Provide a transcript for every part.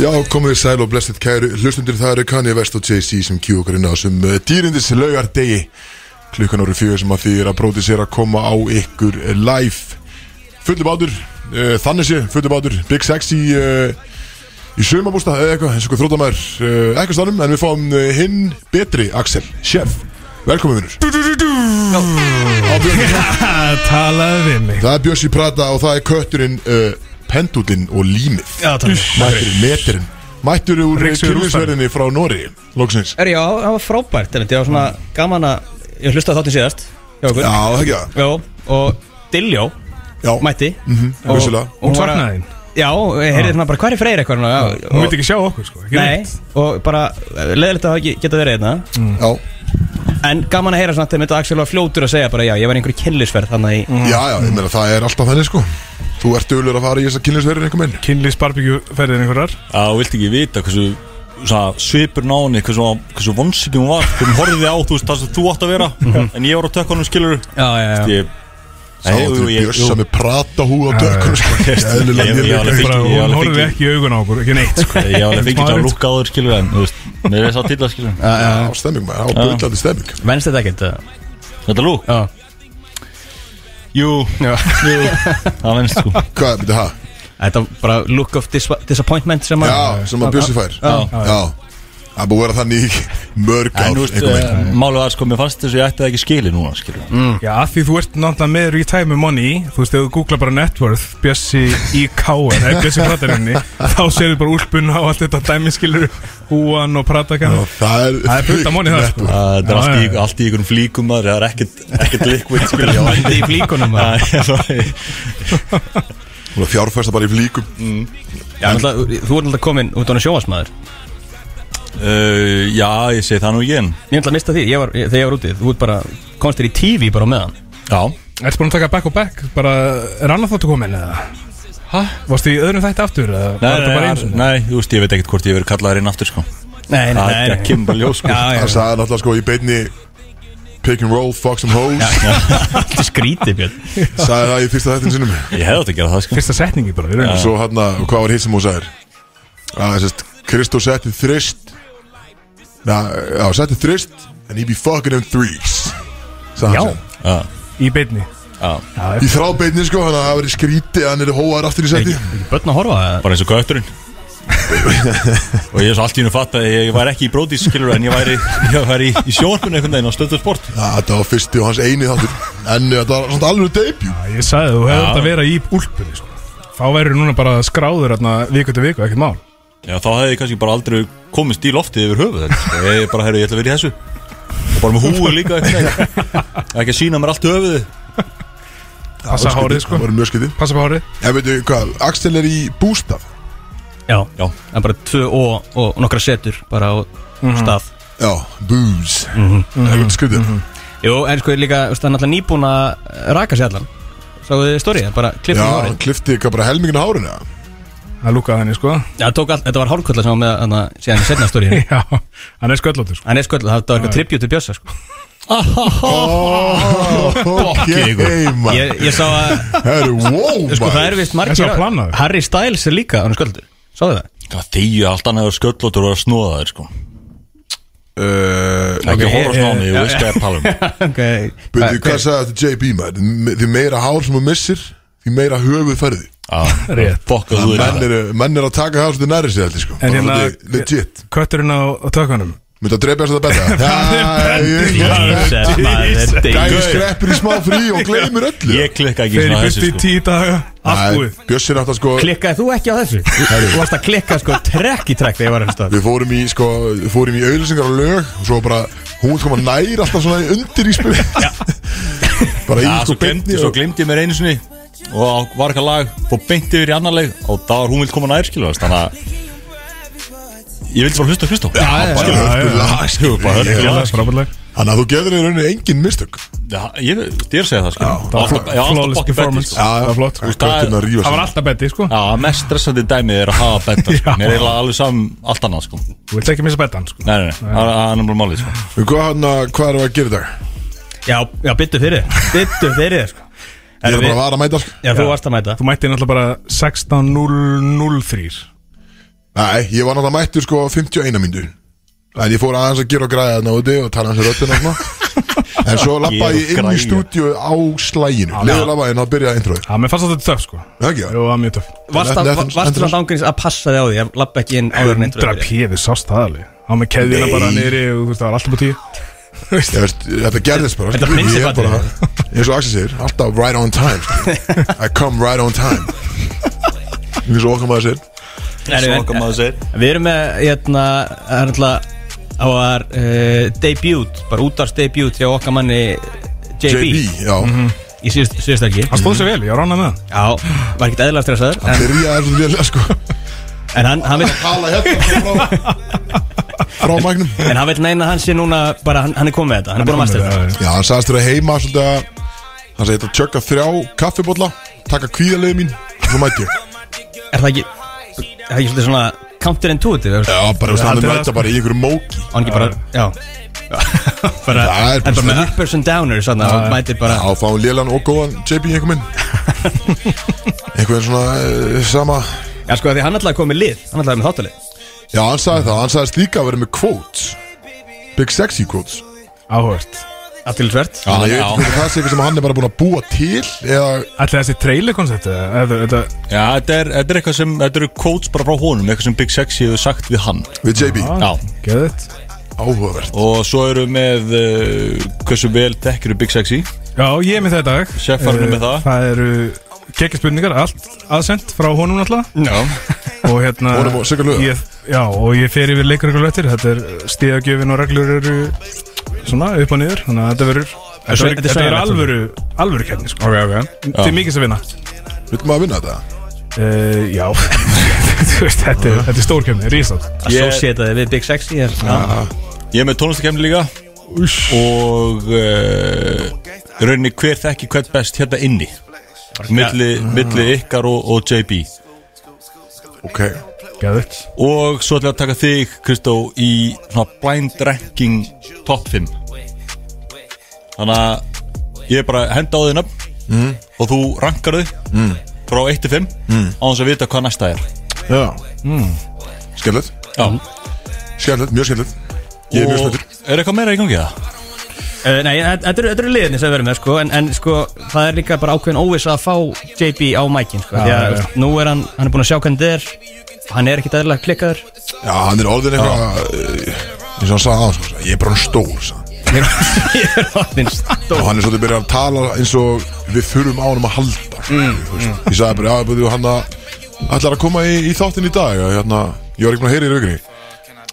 Já, komið þið sæl og blessið kæru Hlustundir það eru Kanye West og Jay-Z sem kjú okkur inn á þessum uh, dýrindis laugardegi Klukkan orður fjögur sem að því er að bróti sér að koma á ykkur eh, live Fullu bátur, uh, þannig sé, fullu bátur Big Sexy uh, í sömabústa eða eitthvað, eins og eitthvað þróttamæður uh, eitthvað stannum En við fáum uh, hinn betri, Axel, chef Velkomin vinnur Talaðu við mig Það er Bjössi Prata og það er kötturinn uh, Pendulinn og límið Já, takk Mætturinn, meturinn Mættur úr Ryksugur kynlisverðinni frá Nóri Lóksins Er já, það var frábært einmitt. Ég var svona gaman að Ég hlustaði á þáttinn síðast Já, okkur Já, það ekki það Já, og Dilljó Já, mætti Og- Mhm, vissulega og hún Hún var að- saknaði þín Já, og ég heyrði svona bara Hver er Freyr eitthvað núna?" Já, Hún og- veit ekki sjá okkur sko ekki Nei, neitt. og bara Leðilegt að það ekki geta verið einna Já, En gaman að heyra svona Þetta Axel var fljótur að segja bara Já, ég var í einhverju kynlisferð Þannig í já, já, ég meina það er alltaf þannig sko Þú ert dölur að fara í þessa kynlisverðin einhver minn Kynlýs barbegjú ferðin einhverjar Já, þú vilt ekki vita hversu svona, svipur náni, hversu, hversu vonsikin hún var hvernig horfið þið á, þú veist, það sem þú átt að vera en ég var á tökkanum, skilur Já, já, já ég, Sá Nei, jú, til ég- Bjössa jú. með prata húð á dökkur sko Eðlilega Ég- ég- mjög ég- leik ég- Bara ég- hún alveg horfið fengi- ekki í augun á okkur Ekki neitt sko ég alveg fengið það að Smárið. lúka á þér, skilur en, þú veist, mér er það til að, skilur Já, stemming maður, á byggjaldi stemming Venst þetta ekkert eða? Þetta lúk? Já Jú, jú, það vennst, sko Hvað, byrja það? Þetta var bara look of dis disappointment sem að Já, sem að Bjössi fær Já. Já, það er búið að vera þannig í mörg En, ár þú veist, einhver eh, minn málið var, sko, mér fannst þess að ég ætti það ekki skili núna, skilur Já, af því þú ert náttúrulega með Retime Money Þú veist, ef þú googla bara net worth Bjössi í káar, eða Bjössi pratarinni Þá sérðu bara úlpun á allt þetta dæmiskilur Húan og pratakan Það er Það er fullt af money það, network. sko. Það er Já, allt já, í- já. allt í ykkur flíkum, maður, það er ekkert- ekkert liquid, skilur Böndi í flíkunum Já, eða? ég bara- Hún er að fjárfesta bara í flíkum Já, náttúrulega, Þú ert alltaf komin út á sjóasmaður Eh, Já, ég segi það nú ekki en Ég ætla að mista því, ég var, ég, þegar ég var úti Þú ert bara, komst þér í TV bara á meðan Já, Ertu búin að taka back og back? Bara, er annað þáttu komin eða? Hæ? Varstu í öðrum þætti aftur? Eða nei, var þetta bara nei, eins og nei, þú veist, ég veit ekkert hvort ég verið kallaður inn aftur, sko Nei, Það er ekki að kemur bara ljós, sko Já, já, Það sagði náttúrulega sko í beinni Pick and roll, fuck some hoes þetta er skrítið Björn Sagði það í fyrsta þettin sinum Ég hefði átt að gera það, sko Fyrsta setningi bara, við erum Svo hann að, hvað var hitt sem hún sagðir? Að þessast, Kristó setti þrist Na, já, setti þrist And he be fucking in threes Sagði Já. hann sem. Já, í beinni já Í þrábeinni sko, hann að það verið skríti Hann er hóaður aftur í setti Börn að horfa á það Bara eins og götturinn Og ég er svo allt í hennu fatt að ég væri ekki í brótis, skilur En ég væri, ég væri í, í sjónarkunni einhvern veginn á stöðu sport Já, þetta var fyrsti og hans eini þáttur En uh, þetta var svona alveg debut Ég sagði þú hefði þetta að vera í úlpunni sko. Þá verður núna bara skráður hérna, viku til viku, ekkert mál Já, þá hefði ég kannski bara aldrei komist í loftið yfir höfuð þetta, sko. Ég bara, herru, ég ætla að vera í þessu Og bara með húu líka einhvern veginn Ekki að sína mér allt höfuðið Passa hárið sko, Það var mjög skritið passa på hárið En veitu hvað, Axel er í bústaf Já, Já. það er bara tvö og, og nokkra setur bara á stað Já, bús Mhm. Það er skritið Jú, en sko líka, þú veist, það er náttúrulega nýbúin að raka sér allan Sáðu þið stórið, bara Já, klippið í hann hárið klifti eitthvað bara helmingin á hárinu eða? Það lúkaði henni sko Já, það tók allt, þetta var hárkvölda sem var með hann að síðan í setna stórið Já, hann er sköllóttur sko Hann er sko, það var eitthvað tribut til Bjössa sko. Oh. Ok, ég, maður ég sá að, Það eru wow, sko, maður það er vist Þessi margir var planaður. Harry Styles er líka, hann er sköldur Sáðu það? Það þegju allt annað að sköllotur og að snóða þér, sko Uh, Ok, Ekki að horfa á eh, snáni, já, ég veist hvað ég er að tala um okay. Byrðu, hvað sagði þetta JB maður? Me- Því meira hár sem þú missir Því meira höfuð færði Já, Rétt. fokk að þú er menn, eru- menn er að taka það svolítið næri sig þetta sko En Bara hérna- svolítið Legit Kötturinn á, á tökunum Myndi að drepa þess að Jesus, betta maður, þetta er Gæði deyr. skreppur í smá frí og gleymir öllu Ég klikka ekki Fyrir svona í þessu byrti í sko tíu daga Allt Nei, búið Bjössi er alltaf sko Klikkaði þú ekki á þessu? Þú varst að klikka sko trekk í trekk þegar ég var einhverstað Við fórum í sko Fórum í auðlýsingar og lög Og svo bara Hún kom að næra alltaf svona undir í spil Bara í Já, svo sko glemdi, beinni svo og- glemdi ég mér einu sinni og á- var eitthvað lag og beinti yfir í annar lag og þá var hún vilt koma nær skilvæðast þannig að ég vildi bara hlusta á Kristó Bara já, hörku já. lag, sko. bara Já, hörku lag. Ég- það er frábærleg Þannig að þú getur í rauninni engin mistök Já, ég ég er að segja það sko Alltaf- Já, alltaf Flawless bokki betti performance sko Það var flott sko. veist, það er- Göttin að rífa Það var sig alltaf betti sko Já, mest stressandi dæmið er að hafa betta sko. Já. Mér er eiginlega alveg saman allt annað sko Nei, Þú vilt ekki missa bettan sko nei, nei, það er- það er náttúrulega málið sko eh, Hvað hann að, hvað erum við að gera í dag? Já, já, byttu fyrir, byttu fyrir sko. Ég er bara að vara að mæta sko. Já, þú varst að mæta Þú mætti náttúrulega bara 16.003 Nei, ég var náttúrulega mættur sko á 51 myndur En ég fór aðeins að gera og græða þarna úti og tala hans í röddina og svona En svo lappaði ég Gera og inn í græja. stúdíu á slæginu Leður lappaði en þá byrjaði introið Já, mér fannst þetta töff sko Jú, Það ekki það það? var mjög töff Varst Þetta- að- þetta- varst þú alltaf ángurins að passa þig á því Ég lappa ekki inn áður en intro 100 pífi sást það alveg Á með keðina bara neyri og þú veist það var alltaf á tíu Ég veist, þetta gerðist bara Þetta skilur, ég prinsip er bara, eins og Axel segir, alltaf right on time skilur. I come right on time eins og okkar maður segir Nei, en- Svaka maður segir Við erum með, hérna, það er alltaf á að uh, debut, bara útars debut hjá okkar manni JB, JB, já, í síðust, síðust ekki Hann stóð sér vel, ég var ránað með Já, var ekkert eðla stressaður en, byrjaði er svona vel sko, en hann, hann vil, tala hérna frá, frá magnum en hann vil neina að hann sé núna bara, hann, hann er komið með þetta, hann er búin að master þetta hann Já, hann sagðist þér að heima svolítið að hann sagði þetta tjökka þrjá kaffibólla taka kvíðarlega mín og svo mætti ég Er það ekki, er það ekki svolítið svona counterintuitive, er Já, bara veist, hann Haldið er það, mæta sko. bara í einhverju móki hann ekki bara, já bara, Það er en bara bara með uppers and downers, þannig að hann mætir bara Já, fá hann lélan og góðan JB einhver minn einhvern veginn svona uh, sama Já, sko, af því hann ætlaði að koma með lið, hann ætlaði með þáttalið Já, hann sagði það, hann sagðist líka að vera með quotes Big sexy quotes Áhört Aðtilsvert Þannig að ég veit já. ekki hvort það sé eitthvað sem hann er bara búin að búa til eða, Ætli þessi trailerkoncept eða- eða- eða- Já, þetta er, þetta er eitthvað sem, þetta eru quotes bara frá honum Eitthvað sem Big Sexy hefur sagt við hann við JB, Já. Geðið áhugavert Og svo eru með uh, hversu vel tekkiru Big Sexy Já, ég er með þetta dag Sjeffarinn er Eh, með það. Það eru kekkjaspurningar, allt aðsend frá honum náttúrulega Já Og hérna Honum og Sigga Lauga. ég- Já, og ég fer yfir leikur ykkur löttir Þetta er stíðagjöfin og reglur eru svona upp og niður Þannig að þetta verður Þetta svein- verður- þetta þetta er verður sveinalegt, alvöru, alvöru keppni sko. okay, okay. Til mikið sem vinna Vil maður vinna þetta? uh, Já, Þú veist, þetta, er- þetta er stór keppni, rísað Associataði við Big Sexy er, já. Ég er með tónlistakemni líka Og uh, Rauninni hver þekki hvert best hérna inni Milli, milli ykkar og, og JB Ok, Geðið Og svo ætla ég að taka þig, Kristó Í svona blind ranking Top 5 Þannig að Ég er bara að henda á þig nöfn Og þú rankar þig mm. Frá 1 til 5 mm. Á þess að vita hvað næsta er já mm. Skellilegt, Já skellilegt, mjög skellilegt Ég er mjög Og spenntur er eitthvað meira í gangi það? Uh, nei, þetta þetta eru, þetta eru liðinni sem við verðum með sko, en, en sko, það er líka bara ákveðin óviss að fá JB á mækin sko, því að já, já. nú er hann, hann er búin að sjá hvernig þetta er hann er ekkit eðlilega klikkaður Já, hann er orðin eitthvað eh, eins og hann sagði á, sko, ég er bara hann stór sagði hann. Ég er- ég er orðin og stór hann er svolítið byrjað að tala eins og við þurfum á hann að halda mm, mm. ég sagði bara, já, betur hann að ætlar að koma í, í þáttin í dag og hérna, ég var ekki með að heyra í rauginni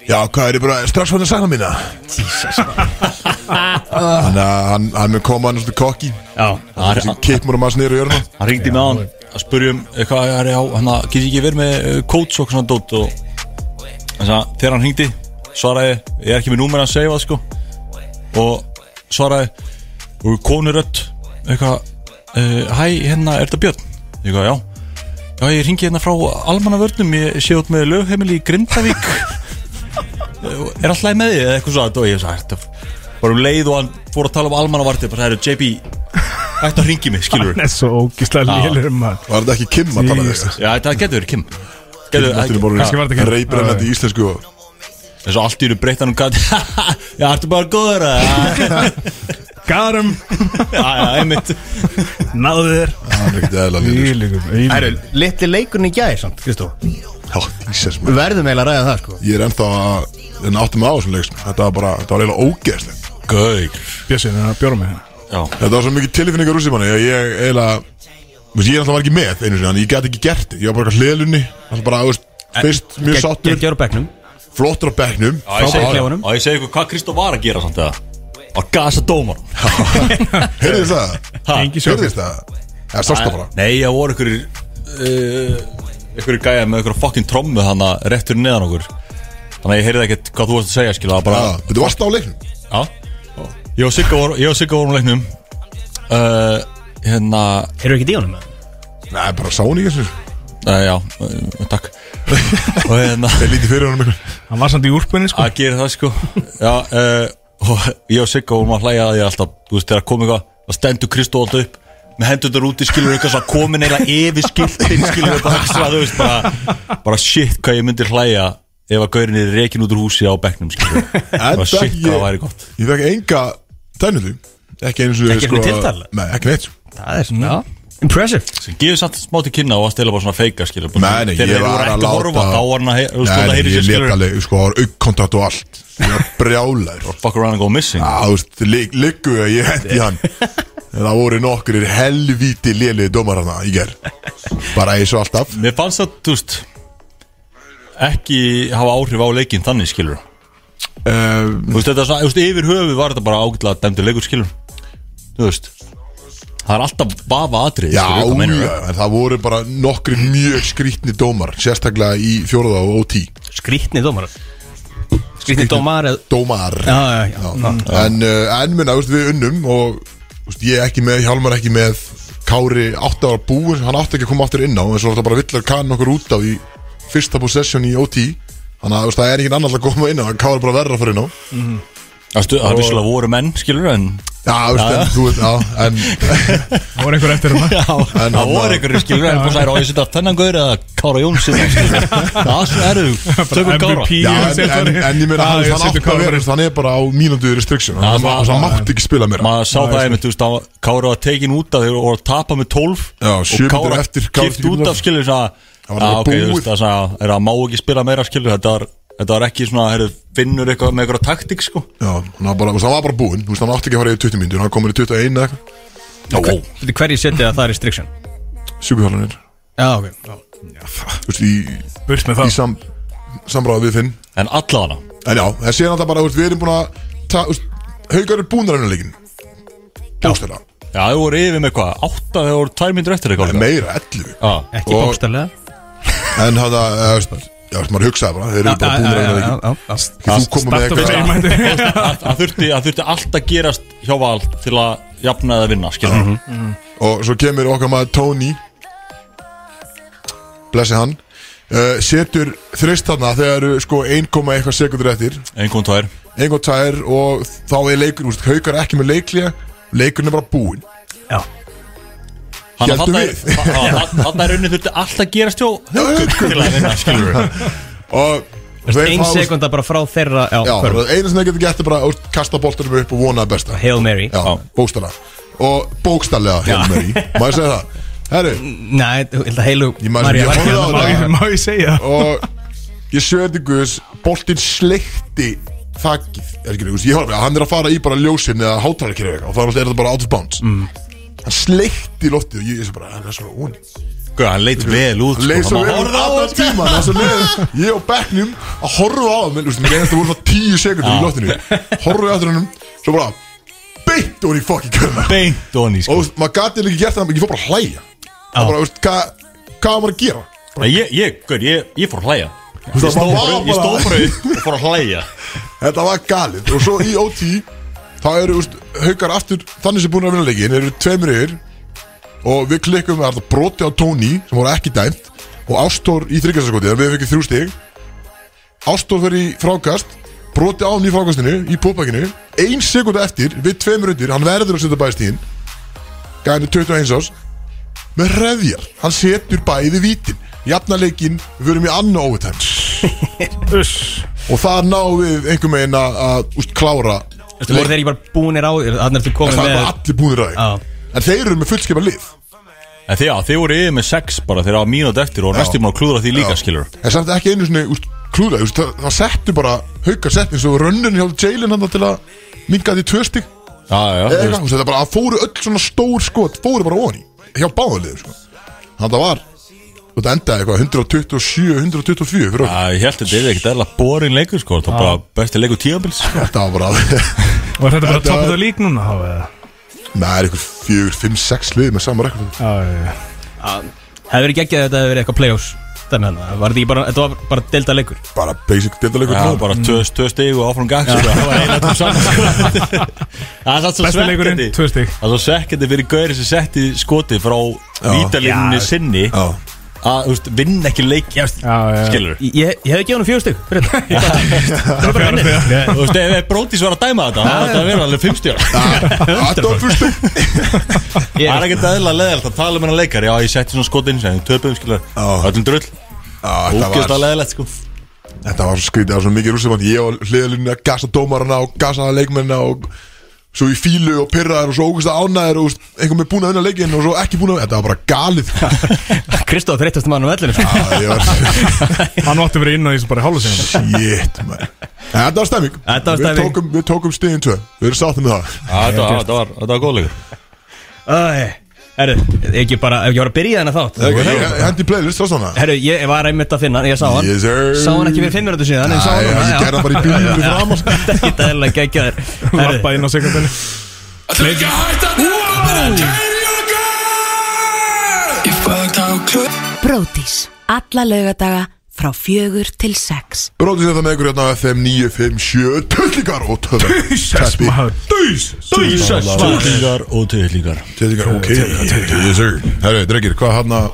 já, hvað er ég bara, strax fann að sagna mína þannig að hann, hann mun koma hann er svolítið kokki Já, Það er- sem kippmur og maður snýru í örna Hann ringdi mig á hann að spurja um eh, hvað er á, hann að geti ekki verið með eh, coach og svona dót og þannig að þegar hann ringdi svaraði, ég er ekki með númer að segja það sko og svaraði og konurödd eitthvað, uh, hæ hérna er þetta Björn? Ég eitthvað, já já ég ringi hérna frá almannavörnum ég sé út með lögheimili í Grindavík Eh, er alltaf með því eða eitthvað svo að og ég sagði, þetta bara um leið og hann fór að tala um almannavartir bara það eru JB, hættu að ringi mig skilur Hann er svo ógislega Já. lélur maður var þetta ekki Kim að tala Jesus. þig Já, þetta getur verið Kim Getur Þetta er verið Kannski var þetta bara Kim. reybrennandi í íslensku og Eins og allt í einu breytta hann um gat Já, ertu bara góður að Garum, Já, já, einmitt náðu þér hann er ekkert eðla lýður Ílíkum, Æru, ílíkum litli leikurinn í gæði samt, Kristó já, Jesus, maður Við verðum eiginlega að ræða það, sko ég er ennþá að en áttum á þessum leik sko. þetta var bara, þetta var eiginlega ógeðslegt Gaur Bjössin, það bjórum með það Já, þetta var svo mikið tilfinningar úr sem hann ég ég eiginlega, þú veist, ég er alltaf var ekki með einu sinni, þannig ég gæti ekki gert þetta. ég var bara eitthvað hliðlunni alltaf bara, þú veist, fyrst mjög sáttur Gekkjör á bekknum flottur á bekknum Já, ég segi Frábært. ykkur Já, ég segi ykkur hvað Kristó var að gera samt eða Að gasa dómar heyrðist það, Engi sjókur heyrðist það eða sást það bara Nei, það voru ykkur uh, Ykkur gæja með ykkur fucking trommu Þannig að réttur neðan okkur Þannig að ég heyrði ekkert hvað þú varst að segja skilja bara, Já, þetta varst á leiknum Já Ég og Sigga voru- ég og Sigga vorum á leiknum uh, Hérna Eru ekki díunum með? nei, bara sá hún ekki þessu uh, Já, uh, takk Og hérna það er lítið fyrir honum ykkur Hann var samt í úlpunni sko að gera það sko já, uh, og ég og Sigga vorum að hlæja að ég alltaf þú veist þegar kom eitthvað það stendur Kristó alltaf upp með hendur út í skilur eitthvað svona komin eila yfir skiltin skilur bara, svona, þú veist, bara, bara shit hvað ég myndi hlæja ef að gaurin er rekin út úr húsi á bekknum skilur En bara shit hvað það væri ég, gott ég fekk enga tænuðu Ekki eins og Ekki einu tiltal? Nei, ekki neitt sko. Það er svona Impressive sem gefur samt smá til kynna og að stela bara svona feika skilur Nei, nei, ég var að láta horfa, þá var hann að heyra, þú veist, Nei, þótt að nei, ég heyra let sér skilur alveg, sko, það var aukkontakt og allt Ég var brjálæður fuck around and go missing Já, þú veist, lig- liggu að ég hendi hann En það voru nokkur helvíti léliði dómar hana í ger Bara eins og alltaf Mér fannst það, þú veist ekki hafa áhrif á leikinn þannig skilur uh, Þú veist, þetta er svona, þú veist, yfir höfu var þetta bara ágætlega dæmdur leikur skilur Þú veist Það er alltaf vafa atrið Já, já, en það voru bara nokkri mjög skrítni dómar Sérstaklega í fjóruða og ótí Skrítni dómar Skrítni dómar eða- Dómar Já, já, já, já. En, uh, en minna, veist, við unnum og veist, ég ekki með, Hjálmar ekki með Kári átti að vera búin hann átti ekki að koma aftur inn á en svo var þetta bara villar kann okkur út af í fyrsta possession í OT þannig að veist, það er ekkert annars að koma inn á en Kári er bara verra fyrir inn á Það er vissulega voru menn skilur en Já, veist, en, þú veist, já, en Það voru einhver eftir hérna En Það hann- voru einhverjir skilur en það er á ég setja þennan gaur eða Kára Jónsson skilur Það er svo erðu Tökum Kára MVP Já, en, en, en ég meina, Ah, hann, ég hann setur átti að Kára vera, bara- veist, hann er bara á mínundu restriction, hann, það- hann, hann mátti ekki spila meira Maður sá það einmitt, þú veist, það var- Kára var tekin út af þegar voru að tapa með 12 Já, sjö og Kára mínútur eftir, Kári kipt tekin út út af af. skilur það var bara ok, þú búið. veist, það sagði, er að má ekki spila meira skilur þetta var, þetta var ekki svona, herru, finnur eitthvað með eitthvað taktík sko Já, hann var bara, þú veist, hann var bara búinn, þú veist, hann átti ekki að fara í 20 mínútur, hann komur í 21 eða eitthvað, okay. Bíddu, Hverju setja það það restriction? sjúkuhjálfanir, Já, ok þú veist, í, Burt með í það sam, samráðu við Finn En allavega En já, það sé náttúrulega bara, þú veist, við erum búin að ta, þú veist, Haukar er búin að reyna leikin Bóstæla Já, þau voru yfir með hvað, átta þau voru tvær myndir eftir eitthvað Meira, 11 Já, Ekki Og- bókstælega En það, þú veist, já, þú veist, maður hugsaði bara Þeir eru bara búin að reyna leikin Þú komum með Starta við eitthvað einmændi það það þurfti, það þurfti allt að gerast hjá val til að jafna eða vinna, skilur Mhm. mm Og svo kemur okkar maður Tony Blessi hann uh, Setur þrist þarna þegar eru sko 1, eitthvað sekundur eftir Einhvern tvær Einhvern tær og þá er leikur, þú veist, Haukar er ekki með leiklíja Leikurinn er bara búin Já, Þannig að Héldu þarna- við. þa- þa- þa- þarna er unni þurfti allt að gerast hjá haukum til að vinna, sko. skilur Og ein sekunda bara frá þeirra Já, Já, körfu. það eina sem það getur gett er bara að kasta boltanum upp og vona að besta Hail Mary Já, bókstala Og bókstallega hefur mér í Má ég segja það? Herru, Nei, ég held að heilu Ég maður- ég horfði á Má ég- Má ég segja það? og ég sjöði Guðs Boltin sleikti þakkið er ekki, þú veist, Ég horf að hann er að fara í bara ljósin eða hátalarkerfi og þá er þetta bara out of bounds Hann sleikti loftið og ég ég sé bara, hann er svo ón Guð, hann leit vel út Leið sko, svo vel hann um horfði á allan þetta. tíman og svo leið ég og Becknum að horfa á hann Mér finnst það voru svona tíu sekundur í loftinu Horfið aftur hennum, svo bara Beitt og hann í fokkin körna Beint og onni sko. þú veist, maður gati líka gert það ég fór bara að hlæja það var bara, þú veist, hvað hvað var maður að gera Nei, ég, ég, gaur, ég, ég fór að hlæja Þú Ég veist, stóð það bara var upp- ég stóð bara- bara upp og fór að hlæja þetta var galið og svo í OT þá eru, þú veist, haukar aftur þannig sem búin að vinna leikin, eru tveimur yfir og við klikkum með þetta broti á Tony sem voru ekki dæmt og Ástór í þryggjastaskoti, þannig að við fikkum þrjú stig Ástór fyrir í frákast broti á hann í frákastinu, í púpakinu ein sekund eftir, við tveimur undir hann verður að setja bæstíðin gæðinu 21 ás með reðjar, hann setur bæði vítin jafna leikin, við verum í annu óvitæm Uss. og það náum við einhvern veginn að, að úst, klára Þú voru þeir ekki bara búnir á Þannig að þú Það komið er með bara allir búinir að Já. því En þeir eru með fullskipa lið En því að þið voru yfir með sex bara þegar á mínúti eftir og næstum að klúðra því líka skilur En samt ekki einu svona úst, klúra úst, það, það settu bara haukar setni Svo rönnin hjá Jalen hann til að minga því tvö stig Já, já, Eða eitthvað, þú veist, þú veist, Þetta bara að fóru öll svona stór skot Fóru bara ofan í Hjá báðaliður sko. Þannig að það var Þetta endaði eitthvað 127-124 fyrir okkur að ég held að þetta er ekkert eðla borin leikur sko Það er bara besti leikur tíðanbils Þetta var bara Var þetta bara Þetta- top of the league núna? þá, eða? Nei, það er eitthvað 4-5-6 lið með sama rekord Já, já, já. Hefur verið geggjað að þetta hefur verið eitthvað playoffs Þannig að það var þetta ekki bara Þetta var bara delta leikur Bara basic deildalegur Já, bara tvö tvö stig og áfram gang sko, Það var eiginlega þú saman sko Það er satt svo Besta leikurinn, svekkjandi tvö stig. Það er svo svekkjandi fyrir gauri sem setti skoti frá vítalínunni sinni Já. að þú veist, vinna ekki leik já, veist, Já, já. skilur Ég, ég hef ekki á hann fjögur stygg fyrir þetta Það er bara hann þú veist, ef ef Brodís var að dæma þetta það þetta verður alveg 50 ára Adolfustu það er ekkert aðeinslega leðilegt að tala um hennar leikar já, ég setti svona skot inn, sem töpum, skilur Já. öllum drull, ógeðslega leðilegt sko Þetta var svo skrítið, það var svo mikið rússum Ég og hliðalunni að gasa dómarana og gasa leikmennina og svo í fílu og pyrraðar og svo ógust að ánæðir og einhver með búin að vinna leikinn og svo ekki búin að Þetta var bara galið Kristóð þreyttast mann á vellinu Já, ég var Hann átti að vera inn á því sem bara í hálfsegum Shit, man En Þetta var stemming Þetta var Við stemming. tókum, við tókum stigin tvö Við erum sáttum með það Já, þetta var- þetta var- þetta var góð leikur Herru, ekki bara, ef ég var að byrja þennan þátt Ég- ég- Hendi í playlist, það svona Herru, ég var einmitt að finna hann, ég sá hann Yes, sir. Sá hann ekki fyrir fimm minútu síðan, en ég sá Æ, hann núna, Ég já. gerði það bara í bílum fyrir sko. fram Já, Þetta er ekki dæðilega geggjaður Herru, Lappa inn á sekundinu Brótis. Alla laugadaga frá fjögur til sex. Bróðið sér það með ykkur hérna á FM 957 Tullingar og töðar Jesus maður Dís Jesus, Tullingar og tullingar Tullingar, ok Yes sir Herru, drengir, hvað hann að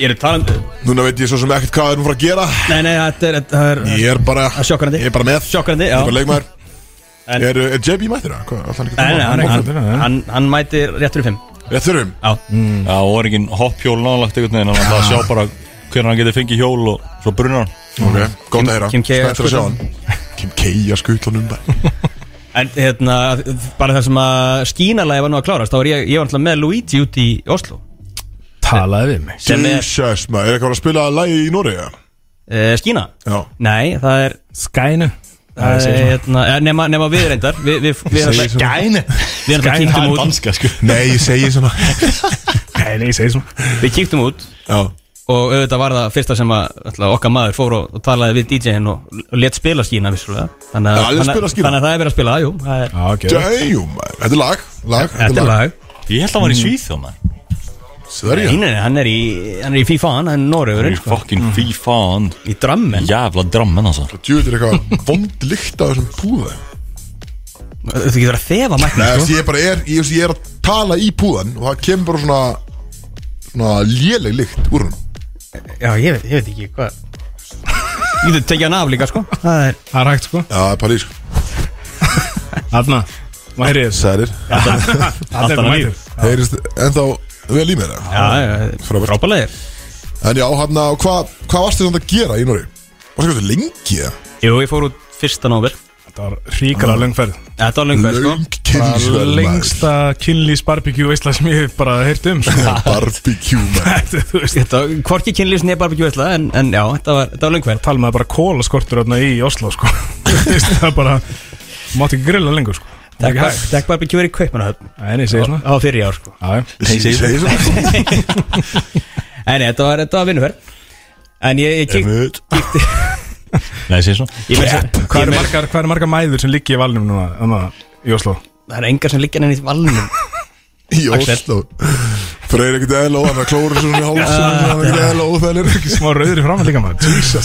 ég er að tala um Núna veit ég svo sem ekkert hvað er nú frá að gera Nei, nei, þetta er, þetta er Ég er bara er sjokkerandi. Ég er bara með Sjokkerandi, Ah, já. Ég er bara leikmaður En- Er, er JB mættir það? Hvað, alltaf Nei, nei, hann, Hann- hann, hann, hann mætir réttur í fimm Ég þurfum Já, Mm. Já, og er enginn hoppjól nálagt einhvern veginn Þannig að það sjá bara hvernig hann getur fengið hjól og svo brunnar hann Ok, gott að heyra Kim K. Spenntur að sjá hann Kim K. að skutla hann um það en hérna, bara það sem að skínalagi var nú að klárast Þá var ég, ég var alltaf með Luigi út í Oslo Talaði við mig Sem er Jesus, maður Er eitthvað að spila lagi í Nóri? uh, skína Já Nei, það er, Skænu það er hérna, eh, nema, nema við reyndar Við, við, við, við, við, Gæni við, við Skæn, kíktum Hann út danska, sko Nei, ég segi svona Nei, nei, ég segi svona Við kíktum út Já og auðvitað var það fyrsta sem að ætla, okkar maður fór og, og talaði við DJ-in og, og let spila skína vissulega þannig Já, að, lét þannig, spila að- skína. þannig að það er verið að spila, jú það er, Já, ok Damn, maður Þetta er lag Lag þetta er lag Ég held að hann var í Svíþjóð, maður Sverja Nei, nei, nei, hann er í, hann er í FIFA, hann er Norröður Í fucking FIFA hann í drammen Jævla drammen, hans Djúður eitthvað vond lykt af þessum púða þú getur að þefa mækna Nei, sko. þessi, ég bara er, ég, þessi, ég er að tala í púðan og það kemur bara svona svona léleg lykt úr hún já, ég veit, ég veit ekki hvað ég getur tekið hann af líka sko það er, Það er hægt sko Já, það er París Þarna Mærið Særir Alltaf er mærið Heyrist ennþá vel í mér eða? já, já, Frábært. frábælegir En já, hann að hvað hva varstu samt að gera í Nóri? Varstu hvað lengi eða? jú, ég fór út fyrsta nóver Þetta var ríkala löngferð þetta var lengur sko Löng kynnsverð Lengsta kynlýs barbecue veistla sem ég hef bara heyrt um sko. Barbecue maður Þetta, þú veist Þetta, var hvorki kynlýs nýja barbeki veistla en, en já, þetta var, þetta var löngverð Tala maður bara kólaskortur þarna í Oslo sko Þú veist, Það er bara Mátti ekki grilla lengur sko Það er ekki hægt Dekk barbeki verið í Kaupmannahöfn Nei, nei, ég segi svona á fyrir ár sko Já, já Ég segi svona Nei, nei, þetta var, þetta var vinnuferð En ég, ég kíkti Einmitt. Nei, ég segi svona ég Hvað meira- ég eru meira- margar, hvað eru margar mæður sem liggi í valnum núna, núna í Oslo? Það er engar sem liggja nefnir í valnum Í Axel. Oslo Freyr ekkert eðla og hann að klóra svona í hálsum Ah, Hann ekkert eðla og það er ekki Smá rauðri framann líka maður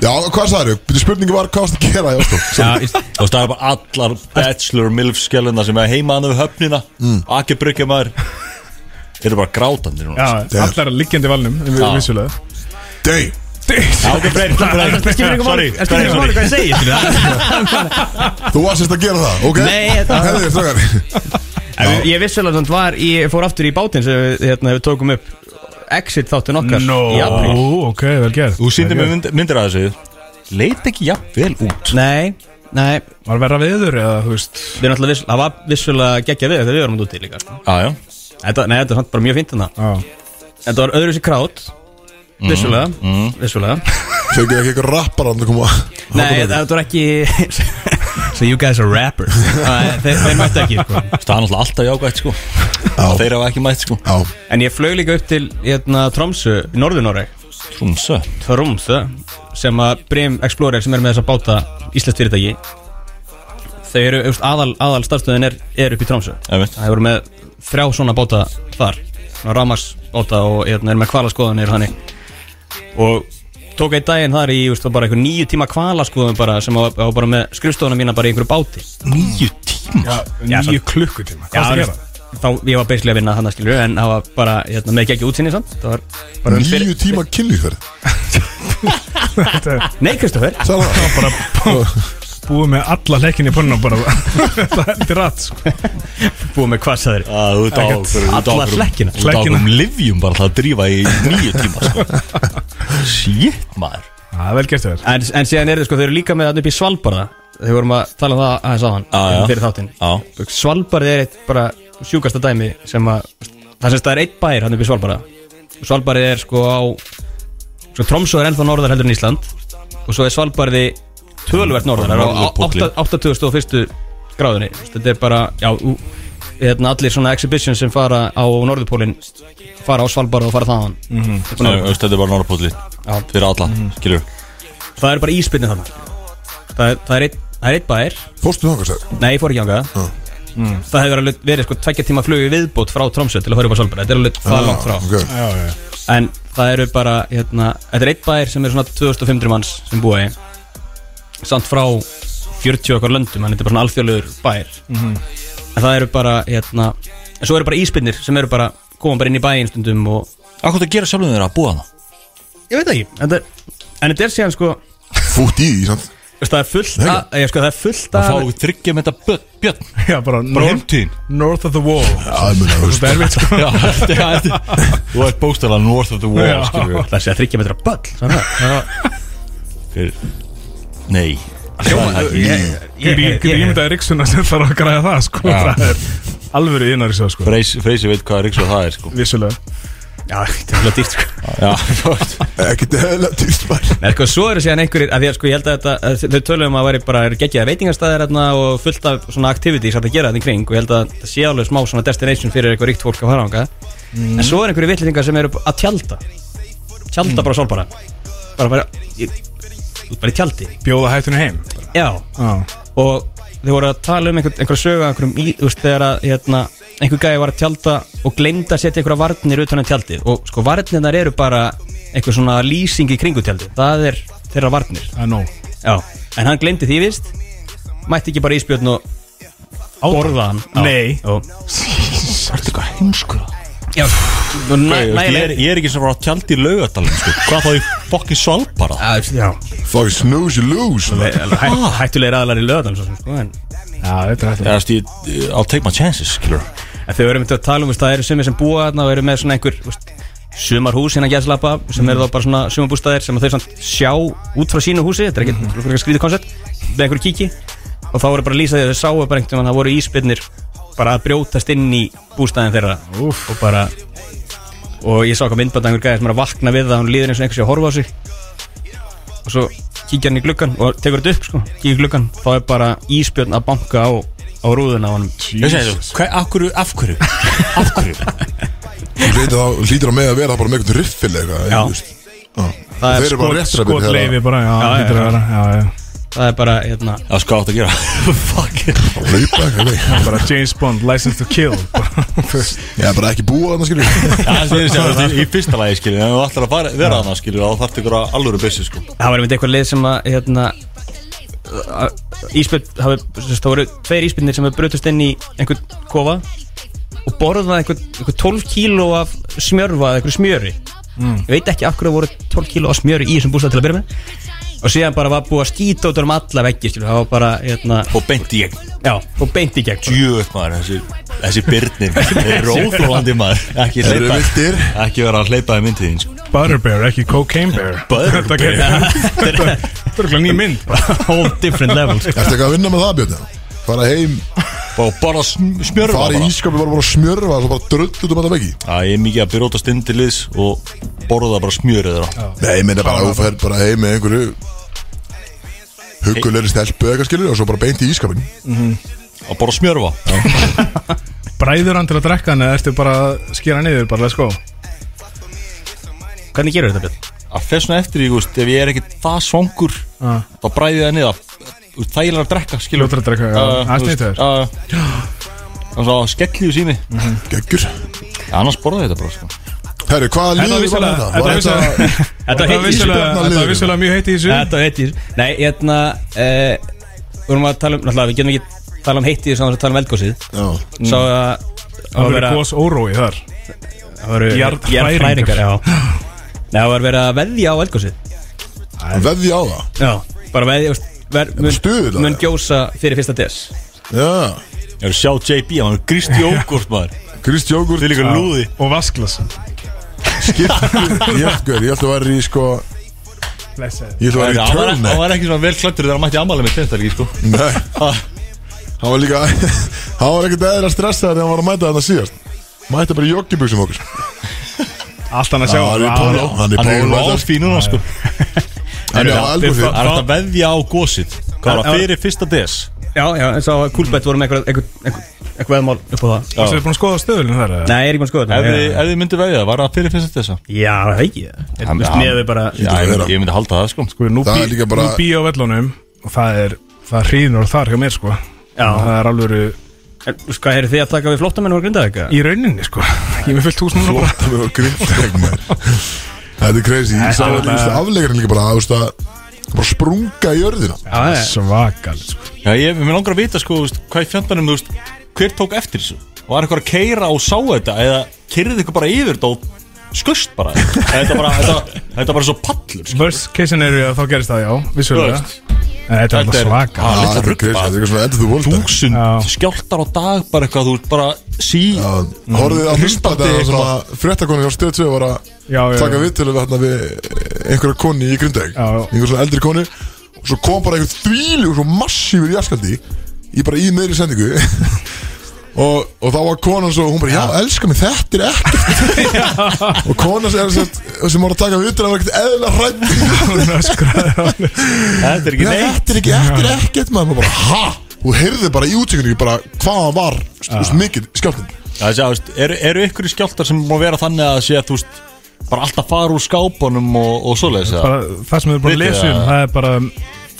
Já, hvað sagður þau? Spurningi var hvað varstu að gera í Oslo? Já, ég- Þú veist, það er bara allar bachelor milf skelluna sem er heima hann við höfnina Aki bryggja maður Þeir eru bara grátandi núna Já, Damn. allar liggjandi í valnum, við Já. vissulega Day Já, ok, breyri, Það skiptir breyri ykkur Sorry, máli Það skiptir sorry, ykkur máli sorry hvað ég segi skilur það. Þú varst sérst að gera það, ok? Nei, þetta- Herðu, strákar En við- Ég vissulega samt var Ég fór aftur í bátinn sem við, hérna, við tókum upp Exit þáttu nokkar í apríl. Ó, ok, vel gerð Þú sýndir Vel mér gert. mynd- myndir að þessu Leit ekki jafn vel út Nei, nei Var verra viður eða, þú veist Við erum alltaf viss, Það var vissulega geggja við þegar við varum úti líka sko. Já, já Þetta, nei, þetta er samt bara mjög fint en það Já, Þetta var öðru sér krát Vissulega, vissulega Fengið ekki eitthvað rappar að koma Nei, þetta var ekki So you guys are rappers Nei, Þeir þeir mættu ekki sko. Það er náttúrulega alltaf jágvægt sko Já. Þeir hafa ekki mætt sko Já, En ég flög líka upp til hérna, Tromsu, Norðunóreg Trúmsö Tromsö sem að Brim Explorer sem er með þessa báta íslenskt fyrirtæki þau eru, you know, aðal, aðal starfstöðin er, er upp í Tromsö Einmitt. það eru með þrjá svona báta þar Ramars báta og hérna, er með kvalaskoðanir og hannig og tók einn daginn þar í you know, bara einhver níu tíma kvalaskoðun bara, sem á, á bara með skrifstofuna mína bara í einhverju báti Nýju tíma já níu klukkutíma Hvað er það að gera? þá ég var basically að vinna þannig skilur en það var bara hérna, með ekki útsinni samt það var bara um Nýju tíma kynlífverð nei Kristoffer Það var bara búið með alla hlekkinni í pönnu bara það er rætt sko. búið með kvassaður Þú ert á Ekkert. einhverju- þú ert á Alla einhverjum- flekkina. Þú ert á okkur um livjum bara Það drífa í nýju tíma sko. Shit maður það er vel gert þér en, en síðan er þið sko þau eru líka með þarna upp í Svalbard þau vorum að tala um það aðeins á hann Já, já. fyrir þáttinn Já Svalbard er eitt bara sjúkasta dæmi sem að það sem það er eitt bær hann upp í Svalbard Svalbard er sko á sko Tromsö er ennþá norðar heldur en Ísland og svo er Svalbardi tölvert norðar það er á Norðurpóllinn. átta- 81. gráðunni Þú veist, þetta er bara já, ú, hérna, allir svona exhibition sem fara á norðupólinn fara á Svalbard og fara þaðan mm Nei, þú veist, Þetta er bara norrpólli Fyrir alla Skilur það er bara íspinni þarna það er, það er, eitt, það er eitt bær Fórstu þangast það Nei, ég fór ekki ánga uh. Það hefur alveg verið sko tvekja tíma flug í viðbót frá Tromsö til að horfa upp á Svalbard Þetta er alveg það langt frá okay. já, já. En það eru bara, hérna, þetta er eitt bær sem er svona 2500 manns sem búa í Samt frá 40 okkar löndum, þannig þetta er bara svona alþjóðlegur bær En það eru bara, hérna, en svo eru bara íspinnir sem eru bara, koma bara inn í bæinn stundum og Akkur það gera sjálfum þeirra að búa hana Ég veit ekki, en þetta er, en þetta er síðan sko Fútt í því sant? veist, Það er fullt að, ég sko, það er fullt Það að fá þryggja með þetta börn- björn já, bara Bara north, heimtíðin north of the wall Það mun að það er veist við sko Já, þetta er- þetta er- Þú ert bókstæla north of the Já. wall skilur. Það sé að þryggja metra böll, svona Fyrir- Nei Það er ekki- Ég get ímyndaði Ríksuna sem þarf að græða það sko Já. Það er alvöru innar í sig sko Freysi Freysi veit hvað Ríksvað það er sko Vissulega Já, þetta er alveg dýrt sko Já, þú veist Ekkert eða týrst maður Nei, sko, svo eru síðan einhverjir, að því að sko, ég held að þetta, að þau tölum að væri bara geggjaða veitingastæðir þarna hérna og fullt af svona activities að það gera þetta í kring og ég held að það sé alveg smá svona destination fyrir eitthvað ríkt fólk að fara ánga Mm. En svo eru einhverjir vitlitingar sem eru að tjálta, tjálta Mm. bara sólbara, bara bara, ég, þú ert bara í tjaldi Bjóða hættunni heim Já, Já og þau voru að tala um einhver, einhverja sögu af einhverjum í, þú veist, þegar að, hérna, einhver gæði var að tjálta og glemd að setja einhverja varnir utan að tjaldið og sko varnirnar eru bara einhver svona lýsing í kringu tjaldið, það er þeirra varnir Það er nóg Já, en hann glemdi því vist Mætti ekki bara íspjörn og Borða hann Já. Nei. Jó. Það er eitthvað heimskur Já, og næ- Ég er- nægilega ég er ekki sem var á tjaldi í laugadalinn sko Hvað þá í fokkin svalbara Já, Fucking snooze you lose maður. hæ- hættulegir aðlar í löðan sko, en, Já, þetta er Eða, þetta þú veist, ég- eh, I'll take my chances, skilur en þau eru myndið að tala um veist, Það eru sumir sem búa þarna og eru með svona einhver veist, Sumarhús hérna gæðslapa Sem eru þá bara svona sumarbústaðir sem að þau samt sjá Út frá sínu húsi, þetta er ekki mm. skrítið koncept Með einhverju kíki Og þá voru bara að lýsa því að þau sáu bara einhvern veginn Það voru íspjörnir bara að brjótast inn í Bústaðin þeirra Úff. og bara og ég sá hvað myndband að einhver gæði sem er að vakna við það hún líður eins og einhvers sé að horfa á sig og svo kíkja hann í gluggan og tekur þetta upp sko, kíkja í gluggan þá er bara íspjörn að banka á, á rúðuna á hann Ég segi þú, hvað, af hverju, af hverju Af hverju Þú veit að þá hlýtur á með að vera bara með einhvern riffil eða Já. eitthvað Já það Þeir er, eru bara Skot, réttir að skot leifi bara, já, já, hlýtur að já. vera Já, já það er bara hérna, Það sko átt að gera Fuck að hlaupa eitthvað leið. Bara James Bond, License to Kill bara. Ég er bara ekki búa þarna skilur Það segir sér, í fyrsta lagi, skilur En þú ætlar að fara, vera hana, skilur Þá þarf ykkur að alvöru byssu, sko það var einmitt eitthvað lið sem að hérna, íspjörn það voru tveir íspjörnir sem brutust inn í einhvern kofa og borðaði einhvern einhver 12 kíló af smjörfa eða einhverju smjöri ég veit ekki af hverju voru 12 kíló af smjöri í þessum bústað til að byrja með og síðan bara var búið að skýta út um alla veggi skilur, það var bara, hérna, Og beint í gegn já, og beint í gegn sko. bara. Djöð, maður, þessi, þessi byrnir Þeir eru óþólandi, maður Ekki Þeir eru hleypa viltir. Ekki vera að hleypa í myndtíðin, sko Butterbear, ekki Cocaine Bear Butterbear. Þetta gerir- Þetta er- þetta er ekki ný mynd whole different level sko. Ertu eitthvað að vinna með það Björn? Fara heim, Og bara sm- smjörfa fara í bara ískapi bara bara að smjörfa og svo bara dröld út um þetta veggi Það er mikið að byrjóta stundiliðs Og borða bara smjörið þeirra Nei, ég meina bara að þú fer bara heim með einhverju Huggulegri stelpu eða eitthvað skilur og svo bara beint í ískapin Að borða smjörfa Bræður hann til að drekka hann eða ertu bara að skera niður bara, let's go hvernig gerur þetta Björn? að fer svona eftir því, þú veist, ef ég er ekkert það svangur Ah. þá bræði ég það niða þægilega að drekka, skilur Ljótur að drekka, já, Ah, það er þú veist, snýttur ah, og svo skelliðu sími Geggjur annars borða þetta bara, sko Herri, hvaða Þetta var liður var vissulega- þetta? þetta var Var þetta þetta Þetta var er heitt ísbjörn Ísbjörn vissulega, á þetta er liðinu. vissulega mjög heitt í þessu Þetta var heitt í þessu Nei, hérna uh, Vorum að tala um Náttúrulega, við getum ekki tala um heitt í þessu Þannig að tala um eldgósið Já, Sá að Það verður vera- gos órói þar Það voru Jarðhræringar. jarðhræringar, já Nei, það var verið að veðja á eldgósið Veði á það Já Bara veðja, veist, ver, mun, stuðull að mun það. gjósa fyrir fyrsta des Já, Ég er að sjá JB, hann er grist í ógort maður Kristi Jógur Þið er líka lúði Og vasklas Skiptu Ég ætla ég ætla að vera í sko Blessaður. Ég ætla að vera í Hann var- hann turn var ekki svona vel klættur þegar hann mætti ammæli með tennstælgi sko Nei Hann var líka Hann var ekkert eðra stressaður Þegar hann var að mæta þarna síðast Mæta bara í jogginbuxum okkur Allt hann að sjá Já, hann er í póló Hann er Hann er í póló lóð fín núna sko Hann er á Já, algúsið Það er hægt að veðja á gósið Hvað var það fyrir fyrsta DS? Já, já, eins og Coolbet voru með eitthvað eitthvað eitthvað veðmál upp á það Þú er búin að skoða stöðlun þar eða? Nei, ég er ekki maður skoða Ef þetta þið- ef þið myndu veðja það, var það fyrir fyrsta DS? Já, það er ekki Hann- Mest hann- með við bara Já, að ég vera. myndi- ég myndi halda það sko Sko, nú Það er bý- líka bara- Nú bý á vellunum Og það er Það hrýðnur þar hjá mér sko Það er alveg En, þú veist, Hvað eru þið að taka við flottamenn og grinda eitthvað? í rauninni sko Ég er með fullt hús núna bara. Flott að við varum grindleik maður Þetta er crazy Ég sá Þetta er þetta afleikarinn líka bara þú veist, að bara sprunga í örðina Já, já. Svakal sko. Já, ég mér langar að vita sko, þú veist, hvað í fjöndanum, þú veist, hver tók eftir þessu? Var eitthvað að keira og sá þetta eða keirði eitthvað bara yfir þetta og skust bara? þetta bara, þetta, þetta bara svo pallur, sko. Worst case scenario þá gerist það já Þú Vissulega veist, En þetta er Þetta alltaf er- svakal Ah, Já, litla Þetta er rugl crazy bara. Þetta er eitthvað svona endið þú volta þúsund Já. skjáltar á dag, bara eitthvað, þú veist, bara sí, Horfið að hlusta Hlustandi þetta sem eitthvað. að fréttakonu hjá stöð 2 var að Mm, Já, já, taka já. viðtölu við hérna við einhverja koni í Grindæk Já, já. einhver svona eldri koni og svo kom bara einhver þvíli og svo massífur jaskaldi í bara í meðri sendingu og, og þá var konan svo hún bara já, elska mig, þetta er ekkert og konan sem, sem, sem var að taka viðtölu var ekkert eðla hrætt Hún öskraði á hann. þetta er ekki Nei, neitt. þetta er ekki, þetta er ekkert maður maður bara, ha? Hún heyrði bara í útíkunni bara hvað hann var, þú veist, mikið skjálfinn Það sé, þú veist, eru, eru ykkur skjáltar sem má vera þannig að sé að, þú veist, bara alltaf fara úr skápunum og, og svoleiðis, eða? bara, Það sem við erum búin að Vitið lesa um það. Það er bara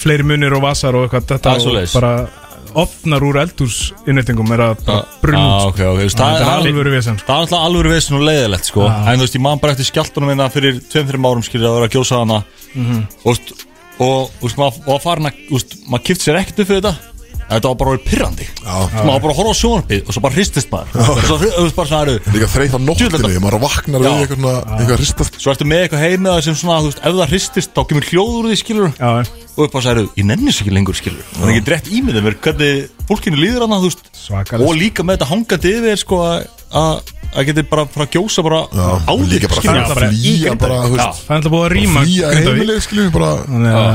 fleiri munir og vasar og eitthvað Þetta Það er og svoleiðis. bara ofnar úr eldursinnýtingum Er að bara brunn Ah, út sko. ok, ok, þú veist, Þetta er það- alvöru vesen, sko. Ah. Það er alltaf alvöru vesen og leiðilegt sko En þú veist, ég man bara eftir skjáltunum minna fyrir 2-3 árum skilur að vera að gjósa hana Mhm. Þú veist, Og þú veist, maður var farin að þú veist, Maður kipti sér ekkert upp fyrir þetta en Þetta var bara orðið pirrandi Já. Þú veist, Maður var bara að horfa á sjónarpið og svo bara hristist maður Og Svo, þú veist, bara svona, eru, Líka þreytt á nóttinni, Djöfull, maður vaknar Já. við eitthvað, svona, eitthvað hristast svo ertu með eitthvað heim með það sem svona, þú veist, ef það hristist þá kemur hljóð úr því skilur Já, og upp á særu, ég nenni svo ekki lengur skilur og það er ekki drétt ímyndið mér hvernig fólkinu líður hana, þú veist svakal og líka með þetta hangandi yfir sko að- að að geti bara frá að gjósa bara á Og þig Líka bara fyrir Já, skilur. að bara í flýja Grindavík. bara, þú Já. veist Það er alltaf búið að rýma Flýja Grindavík. heimileg, skiljum við bara Þannig að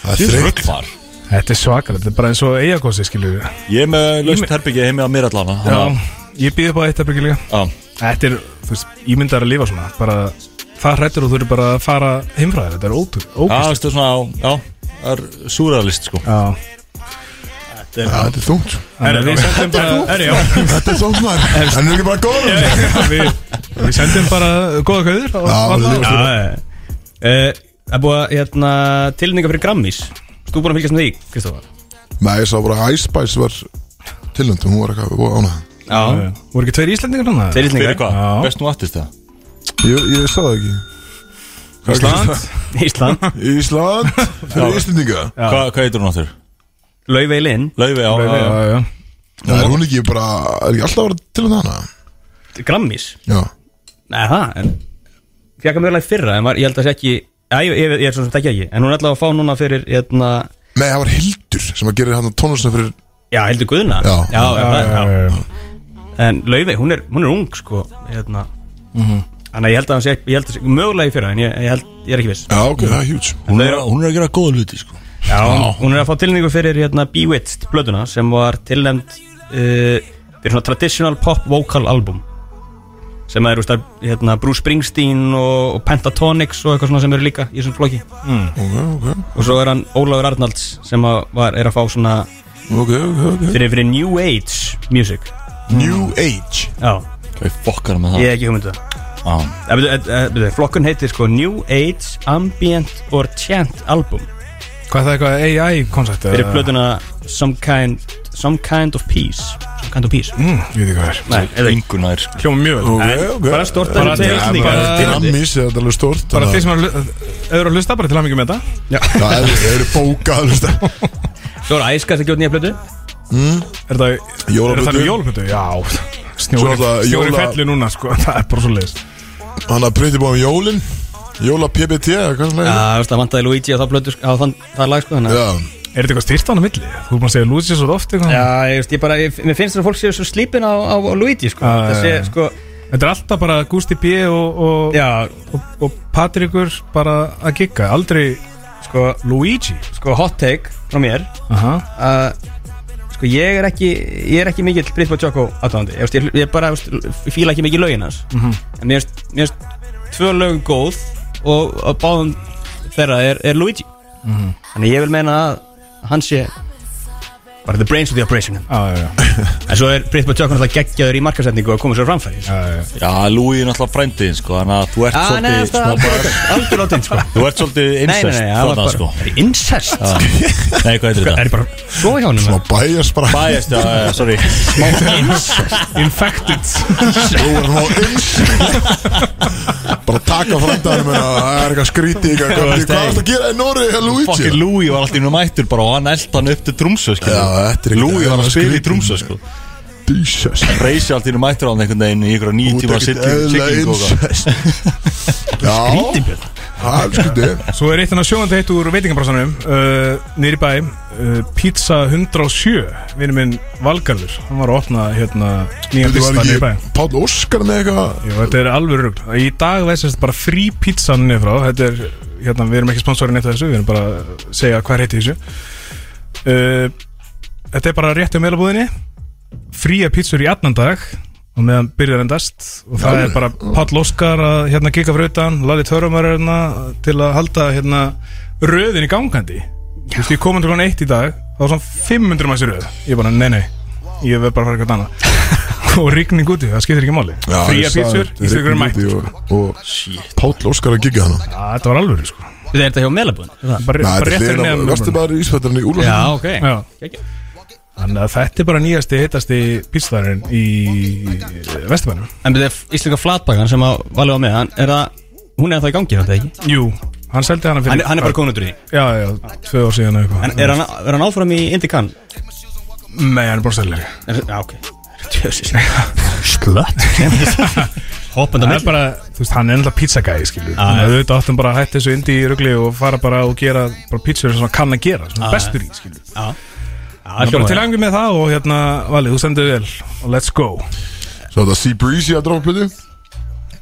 Það er þreytt Þreytt Þetta er svakal Þetta er bara eins og eigakossi skilur við Ég er með laust herbyggið heimi að mér allan Já, ég býði upp á eitt erbyggi líka Já, Þetta er, þú veist, ég myndi að lifa svona bara, það hrættur og þú eru bara að fara heimfræðir, þetta er ótrú, Já, ógust veistu svona, já, það er súræðalist sko Já, Já, Þetta er þungt Herra, við sendum bara, herri, já, Þetta er þungt maður En er ekki bara góður við, við sendum bara góða kauður og Já, og- lifast við. Já, Já, já, já. Eh, Það er búið að hérna, tilninga fyrir Grammys Þú búin að fylgjast með því, Kristofar Nei, ég sá bara að Ice Spice var tilnöndum, hún var eitthvað og ánað Já, Voru ekki tveir Íslandingar hann? þeir Fyrir íslendingar hvað? Já. Best nú aftist það? Ég, ég sá það ekki Hvað gerist það? Ísland Ísland Fyrir Íslandinga Hva, hvað heitir hún áttur? Laufey Linn Laufi á Já, já, já Það er hún ekki bara, er ekki alltaf að vera tilnönd hana? Grammys Já Nei, það, en Fjökk að mjögulega fyrra, en var, ég held að það sé ekki Já, ég, ég, ég er svo sem þetta ekki En hún er allavega að fá núna fyrir, hérna Nei, það var Hildur sem að gera hérna tónlistina fyrir Já, heldur Guðna Já. já, já, Já, já, það- já. já, já. En Laufey, hún er, hún er ung, sko Hérna Þannig að ég held að hann sé ekki, ég held að sé mögulega í fyrra En ég, ég, held, ég er ekki viss Já, ok, það er huge Hún er, hún er að gera góða hluti sko Já, hún, hún er að fá tilningu fyrir hérna, Bewitched blöðuna sem var tilnæmd uh, fyrir svona traditional pop vocal album sem að eru úst, að, hérna, Bruce Springsteen og, og Pentatonix og eitthvað svona sem eru líka í þessum flokki Ok, ok, og svo er hann Ólafur Arnalds sem að var, er að fá svona ok, ok, ok fyrir, fyrir New Age music New Age Já, Hvað er fokkar með það? ég er ekki hugmyndu það Já, Eh, byrju, eh, eh, byrju, Flokkun heitir sko New Age Ambient or Chant Album Hvað er það eitthvað AI-koncept? fyrir blöðuna Some Kind, some kind of Peace Some Kind of Peace Mm, ég veit ekki hvað er Nei, eða ekki yngur nær sko Hljóma mjög vel Ok, ok bara stort að Bara- þetta er Já, Íslandingar bara- Grammis, þetta er alveg stort Bara þeir sem eru að hlu- ef eru að hlusta, bara til að mikið með þetta Já, þeir þeir eru bókað, þú veist Svo er æskast að gjóta nýja plötu Er það, er það Jólaplötu. jólplötu? Já Svo náttúrulega Snjóri jóla... jóla- felli núna sko Það er bara svo leiðist Hann að breyti búið um jólin Jóla PPT eða hvað svona Já, þú veist, það vantaði Luigi á það blötu sko, á þann, það lag sko, þannig að- Já, Er þetta eitthvað styrt á hann að milli? Þú er búin að segja Lucy svo oft eitthvað Já, ég veist, ég bara, ég, mér finnst það að fólk séu svo slípin á, á, á Luigi sko, Já, það sé, já, já. sko, Þetta er alltaf bara Gusti B. og, og, já, og, og Patrikur bara að gigga Aldrei sko, Luigi sko, hot take frá mér Aha. að sko ég er ekki ég er ekki mikill Britpop Choco aðtöðandi ég, veist, ég, ég bara veist, fíla ekki mikið lögin hans en mér finnst- mér finnst tvö lög góð og, og báðum þeirra er, er Luigi þannig ég vil meina að hann sé bara the brains of the operation Já, já, já. en svo er Britpop Choco náttúrulega geggjaður í markasetningu og komið svo framfæri Já, já, já. Já, Lúi er náttúrulega frændiðin sko Þannig að þú ert Ah, nei, svolítið það er smá algjör bara- lotinn, algjör lotinn sko Þú ert svolítið Nei, nei, incest nei, það var þarna, bara sko. Incest? Já. Nei, hvað heitir Er þetta? ég bara svo hjá honum? svona bæjast bara Bæjast, já, já, sorry Infected Þú er nú eins Bara taka frændanum en að það er eitthvað skrítið eitthvað Þú Hvað er veist, hey. það að gera í Nóri eða Luigi? Fokkin Lúi var alltaf í nú mættur bara og hann elda hann upp til Trúmsö Já, þetta er ekkert Lúi var eðlilega að spila í skrítið. Trúmsö sko Jesus Reysi alltaf í nú mættur á hann einhvern veginn í ykkur nýjum Út tíma ekkert eðlilega sigling og eitthvað. incest. Já Það er skrítið Svo er eitt hann að sjóðandi heitt úr veitingabrásanum uh, Nýri bæ uh, Pizza 107 Vinnu minn Valgarður Hann var að opna hérna nýjan Þetta lista var nýri bæ ekki Páll Óskar með eitthvað Jú, þetta er alveg rugl Í dag veist bara frí pizza niður frá Þetta er, hérna, við erum ekki sponsorinn eitt af þessu Við erum bara að segja hvað heiti þessu uh, Þetta er bara rétt um meilabúðinni Fría pizzur í allan dag Og meðan byrjar endast Og það Já, er bara Páll Óskar að hérna kika frá utan Lali Törumar hérna Til að halda hérna röðin í gangandi Þú veist, ég kom til hann eitt í dag Það var svona 500 mæsir röð Ég bara, nei, nei, ég verð bara að fara eitthvað annað Og rigning úti, það skiptir ekki máli Já, Fría ég sagði pítsur, þetta, í styrkur er rigning mætt úti og- Og Páll Óskar að gigga hann Já, Þetta var alveg, sko Er þetta hjá meðlabun? Bara, Nei, bara þetta er rétt fyrir hliðin neðan á lögum. Vesturbæri Ísfættarinn í Úlfarsson Já, ok Já. Geggjað. Þannig að þetta er bara nýjasti, hittasti pítsstæðurinn í Vestabænum En þetta er íslenska flatbakan sem að valið á með hann, er það, hún er það í gangi þetta ekki? Jú, hann seldi hana fyrir Hann, er- hann er bara konundur í því Já, já, tvö ár síðan eða En eitthvað er hann, er hann áfram í Indikan? Nei, hann er bara selleri Er, já, ok Tjössis Slött Hoppandi Það með er bara, þú veist, hann er ennlega pizzagæði, skilur Þannig Já, Ah, já. að auðvitað áttum bara að hætta þessu indi í rugli og fara bara og gera bara pizzur sem hann kann að gera, sem hann Ah, Já, er já. bestur í, skilur Já Já, Það er bara til hljóma angið með það og hérna, Valið, þú sendur vel og let's go Svo þetta Sea Breezy að drópa plötu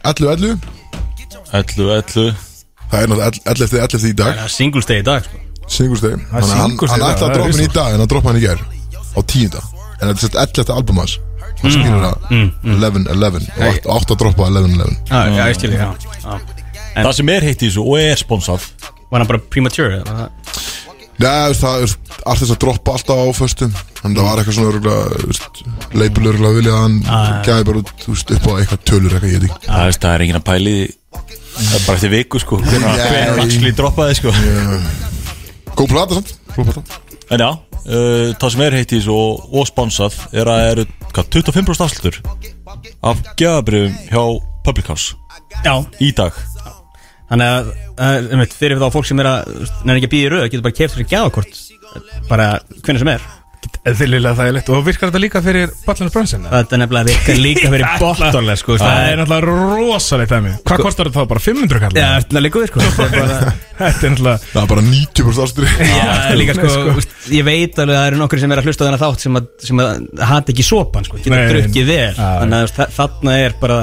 11, 11 Ellu, ellu Það er náttúrulega 11 eftir 11 í dag Það er singles day í dag sko Singustegi Þannig að hann, singles hann day, ætlaði það að drópa hann í dag er risastórt. En hann drópa hann í gær Á tíunda En þetta er sett 11 eftir album hans Mm. Það skilur það 11, 11 Og 8 að droppa 11, 11 Já, já, ég skil ég já. Það sem er heitt í þessu og er sponsað Var hann bara premature? eða var það- Nei, þú veist, það er allt þess að droppa alltaf á föstum Þannig að það var eitthvað svona örgulega Leipur örgulega vilja að hann Ah, Gæði bara út, þú veist, upp á eitthvað tölur eitthvað ég veit Það veist, það er enginn að pæli því Það er bara eftir viku sko Hvernig Nei. hann actually droppaði sko ekki Góð plata samt Góð plata En já, uh, það sem er heitt í þessu og, og sponsað Er að það eru hvað, 25% afslutur Af gjafabrifum hjá Public House Já Í dag Þannig að, að einmitt, fyrir þá fólk sem er að Nefnir ekki að býða í röð, getur bara keft þessi gjafakort Bara hvernig sem er Eðlilega þægilegt og virkar þetta líka fyrir Ballinu Brönsin? Þetta er nefnilega virkar líka fyrir bottorlega sko Það er náttúrulega rosalegt það mér Hvað kostar þetta þá bara 500 kallar? Já, þetta er líka við sko Þetta er bara Þetta er náttúrulega Það er bara 90% ástur Já, líka sko, úst, ég veit alveg að það eru nokkri sem er að hlusta á þennan þátt sem að, sem að hati ekki sopan sko, geta Nei, nei. drukkið vel Já, já. þannig að úst, þa- þarna er bara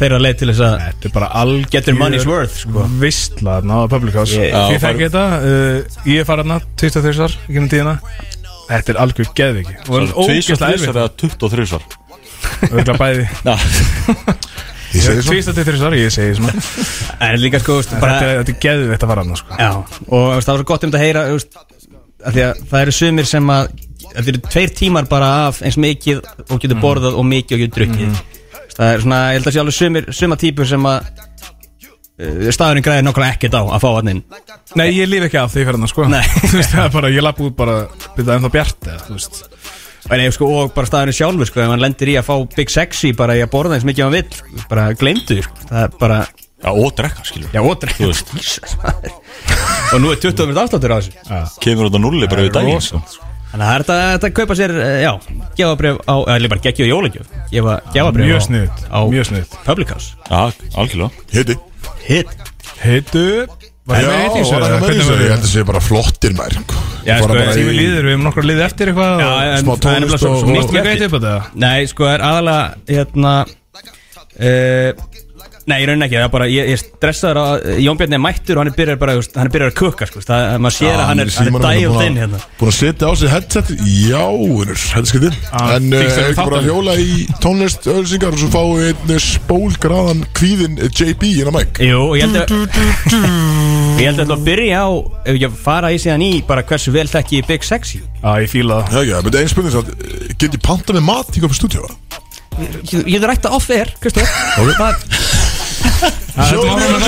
þeirra leið til þess að Þetta er bara algjör Getur money's worth, sko. Vistla þarna á Public House Þið Ég- Já, þekki þetta uh, Ég er farin að 23 þar í gennum tíðina Þetta er algjör geðviki Og Tvísvöld ógæslega þessar eða 23 svar erfitt Örgla bæði Ég segi svona 23 þar, ég segi svona Þetta en líka sko, úst, bara er- þetta er geðvikt að fara þarna sko já, og úst, það var svo gott um þetta að heyra úst, að því að það eru sumir sem að þetta eru tveir tímar bara af eins mikið og getur borðað og mikið og getur drukkið Úst, það er svona, ég held að sé alveg sumir suma típur sem að uh, staðurinn græðir nokkla ekkert á að fá hann inn Nei, ég líf ekki af því fyrir þarna sko Nei. Þú veist, það er bara, ég lapp út bara Byrða ennþá bjart eða, þú veist En ég sko, og bara staðinu sjálfur sko, ef hann lendir í að fá Big Sexy bara í að borða eins mikið hann vill, sko, bara gleymdu því, sko, það er bara, Já, og drekka skilur já, ótræk Þú veist. Jesus, maður. og nú er 20 minnir afsláttur á þessu Kemur út á nulli bara við daginn sko. rosalegt, sko. Þannig að það er þetta- þetta að kaupa sér, eh, já, gefabrif á, eða líka bara geggjöð jólagjöf Gefa, gefabrif Mjög á, sniðugt, á mjög sniðugt. Public House Já, algjörlega Hitti Heitu Var Já, það með heitu í var það með Hvernig í var þessu? Ég held það? að sé bara flottir mær Já, sko, Bara tími líður, við hefum nokkra líð eftir eitthvað Já, og- en smá það er nefnilega tónlist svo, og- svo Nýtt mikið líka eftir eitthvað þetta Nei, sko, það er aðalega, hérna uh, Nei, ég raunin ekki, það er bara, ég, ég stressaður að Jón Bjarni er mættur og hann er byrjar bara, þú veist, hann er byrjar að kukka, sko Það, maður sér að hann er, hann er dægjum þinn, hérna Búin að setja á sig headset Já, vinnur, þetta skriði Ah, En eh, fíkst er þér við ekki bara að þáttinn? hjóla í tónlist ölsingar og svo fáum við einn eh, spólgraðan kvíðin eh, JB inn á mæk Jú, og ég held að Ég held að þetta að byrja á, ef ég fara í síðan í, bara hversu vel þekki ég Big Sexy Já, ég fíla Já, það já, menn einn spurning samt, eh, get ég panta með mat hingað fyrir stúdíu? Ég ég getur ætta off-air, Kristof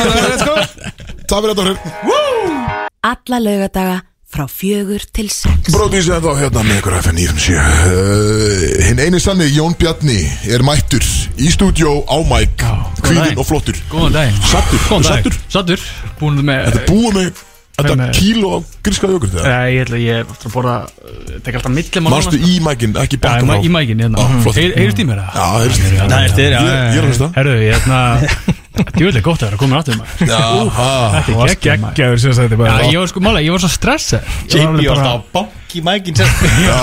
Takk fyrir þetta fyrir Alla laugardaga frá fjögur til sex. Bróðvísi en þá hérna með ykkur FN 957 uh, Hinn eini sanni, Jón Bjarni er mættur í stúdíó á mæk Kvíðin daginn. og flottur Góðan daginn Sattur, Góðan daginn sattur Sattur Búin með Þetta búið með þetta Fem- kíló af grískaði okkur þegar Nei, ég ætla ég er aftur að borða eh, Tek alltaf millim Mástu í mækinn, ekki Já, bakka í frá ma- í mækin hérna Já, flott. Heyr- Heyrist í mér það? Já, heyrst Já, Nei, þetta Ég er, já, ég er að hlusta Herru, ég hérna Djúvill er gott að vera að koma aftur maður Jaha. Þetta Það er var geggjum maður geggjaður sem þetta Já, bara ég var sko mála, ég var svo stressað Ég var JP alveg var bara alltaf Bank í mækin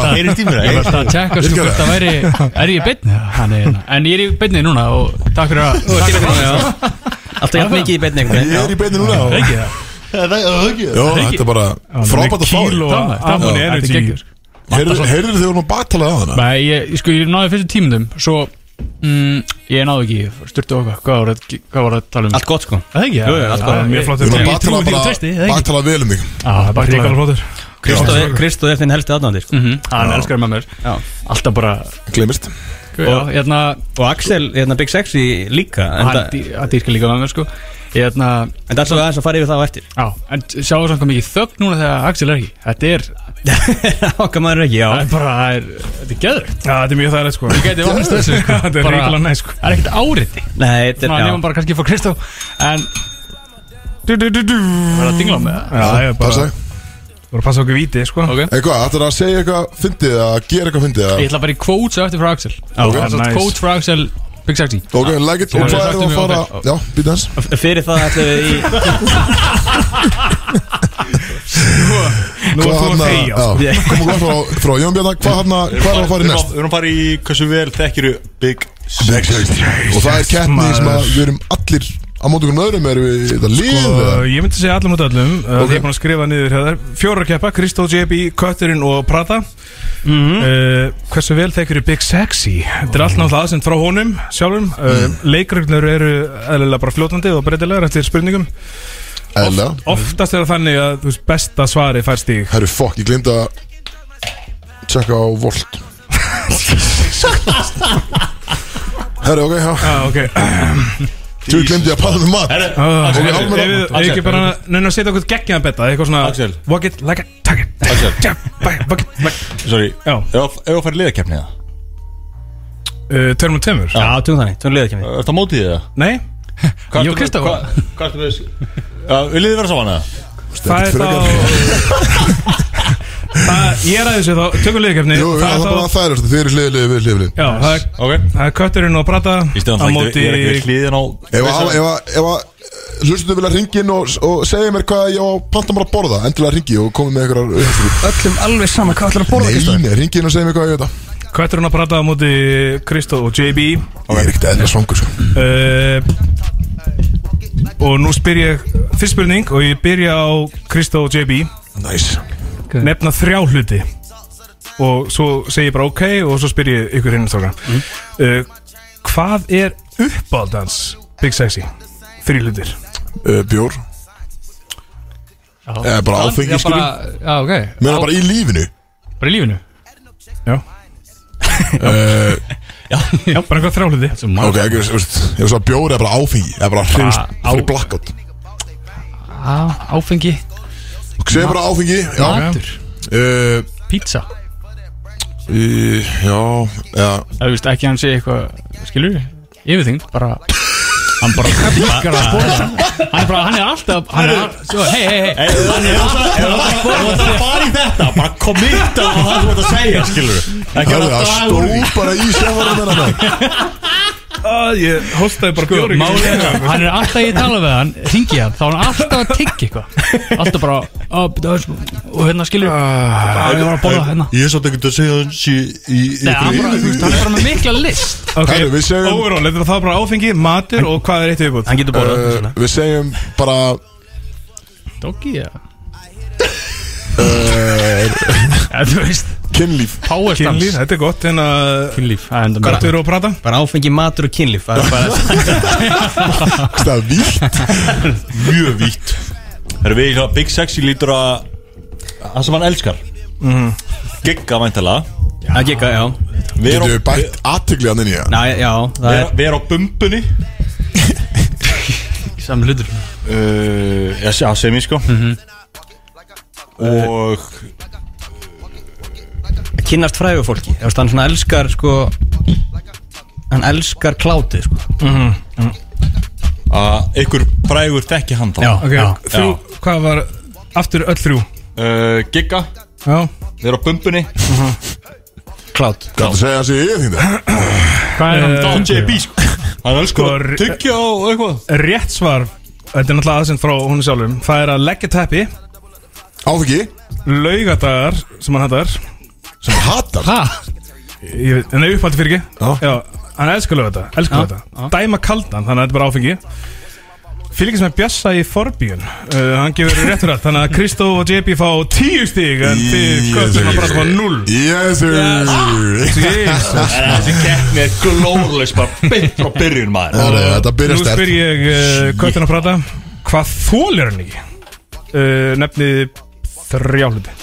Heyrið tímur Ég var alltaf að tjekka sko Virkar hvort það væri Er ég í beinni? Hann er hérna En ég er í beinni núna og takk fyrir að Takk fyrir að Alltaf jafn mikið í beinni Ég einhvern veginn er í beinni núna og- Ekki það Já, þetta er bara frábært að fá þig Kíló Dámar, af Amon dámar. Já, þetta er Energy geggjur. Heyrðu heyrðu þið vorum að baktalað á hana Nei, ég, sko, ég náði fyrstu tímundum Svo, mm, ég náði ekki Sturtu okkar, hvað var það hvað var það að tala um? Allt gott, sko Það ekki, Jú, jú, allt bara mjög flott Við vorum Ég að trúi baktala því og bara treysti, það ekki? Baktala vel um mig Já, Þetta er bara ekki flott flottur Kristof er- Kristof er þinn helsti aðnandi, sko Hann elskar með mér Já. Alltaf bara Glemist Og hérna Og Axel, hérna Big Sexy líka En Hann það dý- hann dýrkar líka með mér sko Ég hérna En það er svo aðeins að fara yfir það á eftir Já, en sjáu samt hvað mikið þögn núna þegar Axel er ekki Þetta er, Okkar maður er ekki, já það er bara, það er, þetta er geðvægt Já, þetta er mjög þærlega sko Ég gæti ofnist þessu sko Þetta er Bara- reikulega næ sko Það er ekkert áriti Nei, þetta Ná, er, nefnum já bara kannski fór Kristó En, Du, du, du, du. verða að dingla á með það Já, ég er bara Passa Þú voru að passa okkur víti sko Ok. Eitthvað, ætlar að segja eitthvað fyndið að gera eitthvað fyndið eða? Ég ætla að fara í quotes á eftir frá Axel Ok, Það er svo nice. quotes frá Axel Big Sexy Ok, like it Og Já, ég hvað sagt er að um fara Jóhannes. Já, býta hans F- Fyrir það ætlum við í Nú er þú þegja að þegja sko. hérna- Komum við frá, frá Jón Bjarnar Hvað hann að, hvað er að fara í næst? Við erum að fara í hversu vel þekkiru Big Og það er keppni sem að við erum allir Á móti okkur öðrum erum við þetta lið Og uh, eða? ég myndi segja allum út allum okay. Ok. Ég er búin að skrifa niður hér Fjórar keppa, Kristó, JB, Kötturinn og Prata uh, Hversu vel þeir eru Big Sexy Þetta er allt náttúrulega aðsend frá honum sjálfum uh, Leikreglur eru eðlilega bara fljótandi og breytilegar eftir spurningum Eðla Oftast er það þannig að þú veist, besta svari fær stíg Herru, fokk, ég glemt að Tjekka á Volt Herru, ok, já ah, okay. Þú glemdi að paða með mat Ah, Axel, Axel, ef Axel, við- ef við Axel. ekki bara nefnum að setja okkur geggjaðan betta eitthvað svona Axel. walk it like a target Axel. Jab, bang, walk it like Sorry Já. Ef ef að fara í liðakefni það Uh, tveir mútið tveimur Já, tungum þannig, tungum liðakemni Er það mótið það? nei Hvað Ég og ertu með- Kristó. hvað- Hvað ertu með Já, Viljið þið vera saman eða? það er frekar. þá það, ég er aðeins þá tökum liðkefni Jú, já, það er bara þá það er Þið eru hlið, hlið, hlið, hlið já, það er Ok það er kötturinn og prata Í á stöðan það ekki, móti ég er ekki við hliðin á Ef að, ef að, ef að hlustum vilja ringi inn og, og segja mér hvað ég á að panta mér að borða Endilega ringi og komið með einhverjar uppskriftir. Öllum alveg sama hvað ætlar að Nei, nei, ringi inn og segja mér hvað ég á þetta kötturinn og prata á móti Kristó og JB Ég er ekkert eðla svangur sko. uh, og nú spyr ég fyrst spurning og ég byrja á Kristó og JB Næs nefna þrjá hluti og svo segi ég bara ok og svo spyr ég ykkur hinn strákar uh, hvað er uppáldans Big Sexy þrjú hlutir uh, Bjór Eða Eh, bara áfengi Já, bara, skilur já, ok Mér er bara í lífinu Bara í lífinu já, uh, já bara eitthvað þrjá hluti Ok, ekki, veist, veist, ég veist að bjór er bara áfengi Það er bara hrist fyrir blackout Á, áfengi Segja bara áfengi Já, Matur uh, Pizza í, já, já Það veist ekki að hann sé eitthvað Skilur við? Yfirþyngd Bara Hann bara klikkar að spora Hann er bara, hann er alltaf Hann er alltaf Hei, hei, hei Það er bara í þetta, bara komitta á það þú ert að segja, skilur Það Ekki að er að draga stó úr bara í sjávarum hennar maður. Að ég hóstaði bara bjóri Málið er, hann er alltaf ég tala við hann Ringi hann, þá er hann alltaf að tyggja eitthvað Alltaf bara "Ó, byrju, aðeins, Og hérna skilur Það er bara að borða hérna Ég er svolítið ekki að segja hans í, í, Nei, hann bara, þú veist, hann er bara með mikla list Ok, Herru, við segjum- overall, þetta er það bara áfengi, matur og hvað er eitt viðbútt? Hann getur borðað Uh, svona. Við segjum bara hérna Doggy, já Já, þú veist Eh, kynlíf Power Kynlíf, stance þetta er gott, hérna Kynlíf, það er enda Hvað meira eru að prata? Bara áfengi matur og kynlíf Það er bara Það er vítt Mjög vítt Það er við, hérna, Big Sexy lítur að Það sem hann elskar Mhm. Gigga væntalega að gika, já Við Getur erum við bætt aðtigli hann inn í það Næ, já, það er Við erum á bumbunni Saman hlutur Uh, já, já, sem ég sko Og að kynnast fræðu fólki Þú veist, hann svona elskar, sko Hann elskar klátið, sko að ykkur frægur þekki hann þá Ok, þrjú, hvað var aftur öll þrjú? uh, Gigga, Já, við erum á bumbunni Klát Gæti að segja hans í eigin þingda Hvað er hann Eh, doggy? JB sko Hann elskar Hvor- að tyggja og eitthvað rétt svar Þetta er náttúrulega aðsend frá hún sjálfum Það er að leggja teppi, Áfengi laugadagar sem hann hattar sem hann hatar Ha? Ég veit- Nei, upphaldi fyrir Já. ekki Já, hann elskar lögða þetta, elskar þetta Dæma kaldan, þannig að þetta er bara áfengi Fylgis með Bjassa í Forbíun uh, Hann gefur rétt fyrir allt Þannig að Kristó og JB fá tíu stík En þið köttum að bara fá null Yes sir Jesus Þessi keppni er glóðlegs bara beint frá byrjun maður Herru, Þetta Nú byrjar spyr stert ég uh, köttin að prata Hvað þólir hann ekki? Uh, nefnið þrjá hluti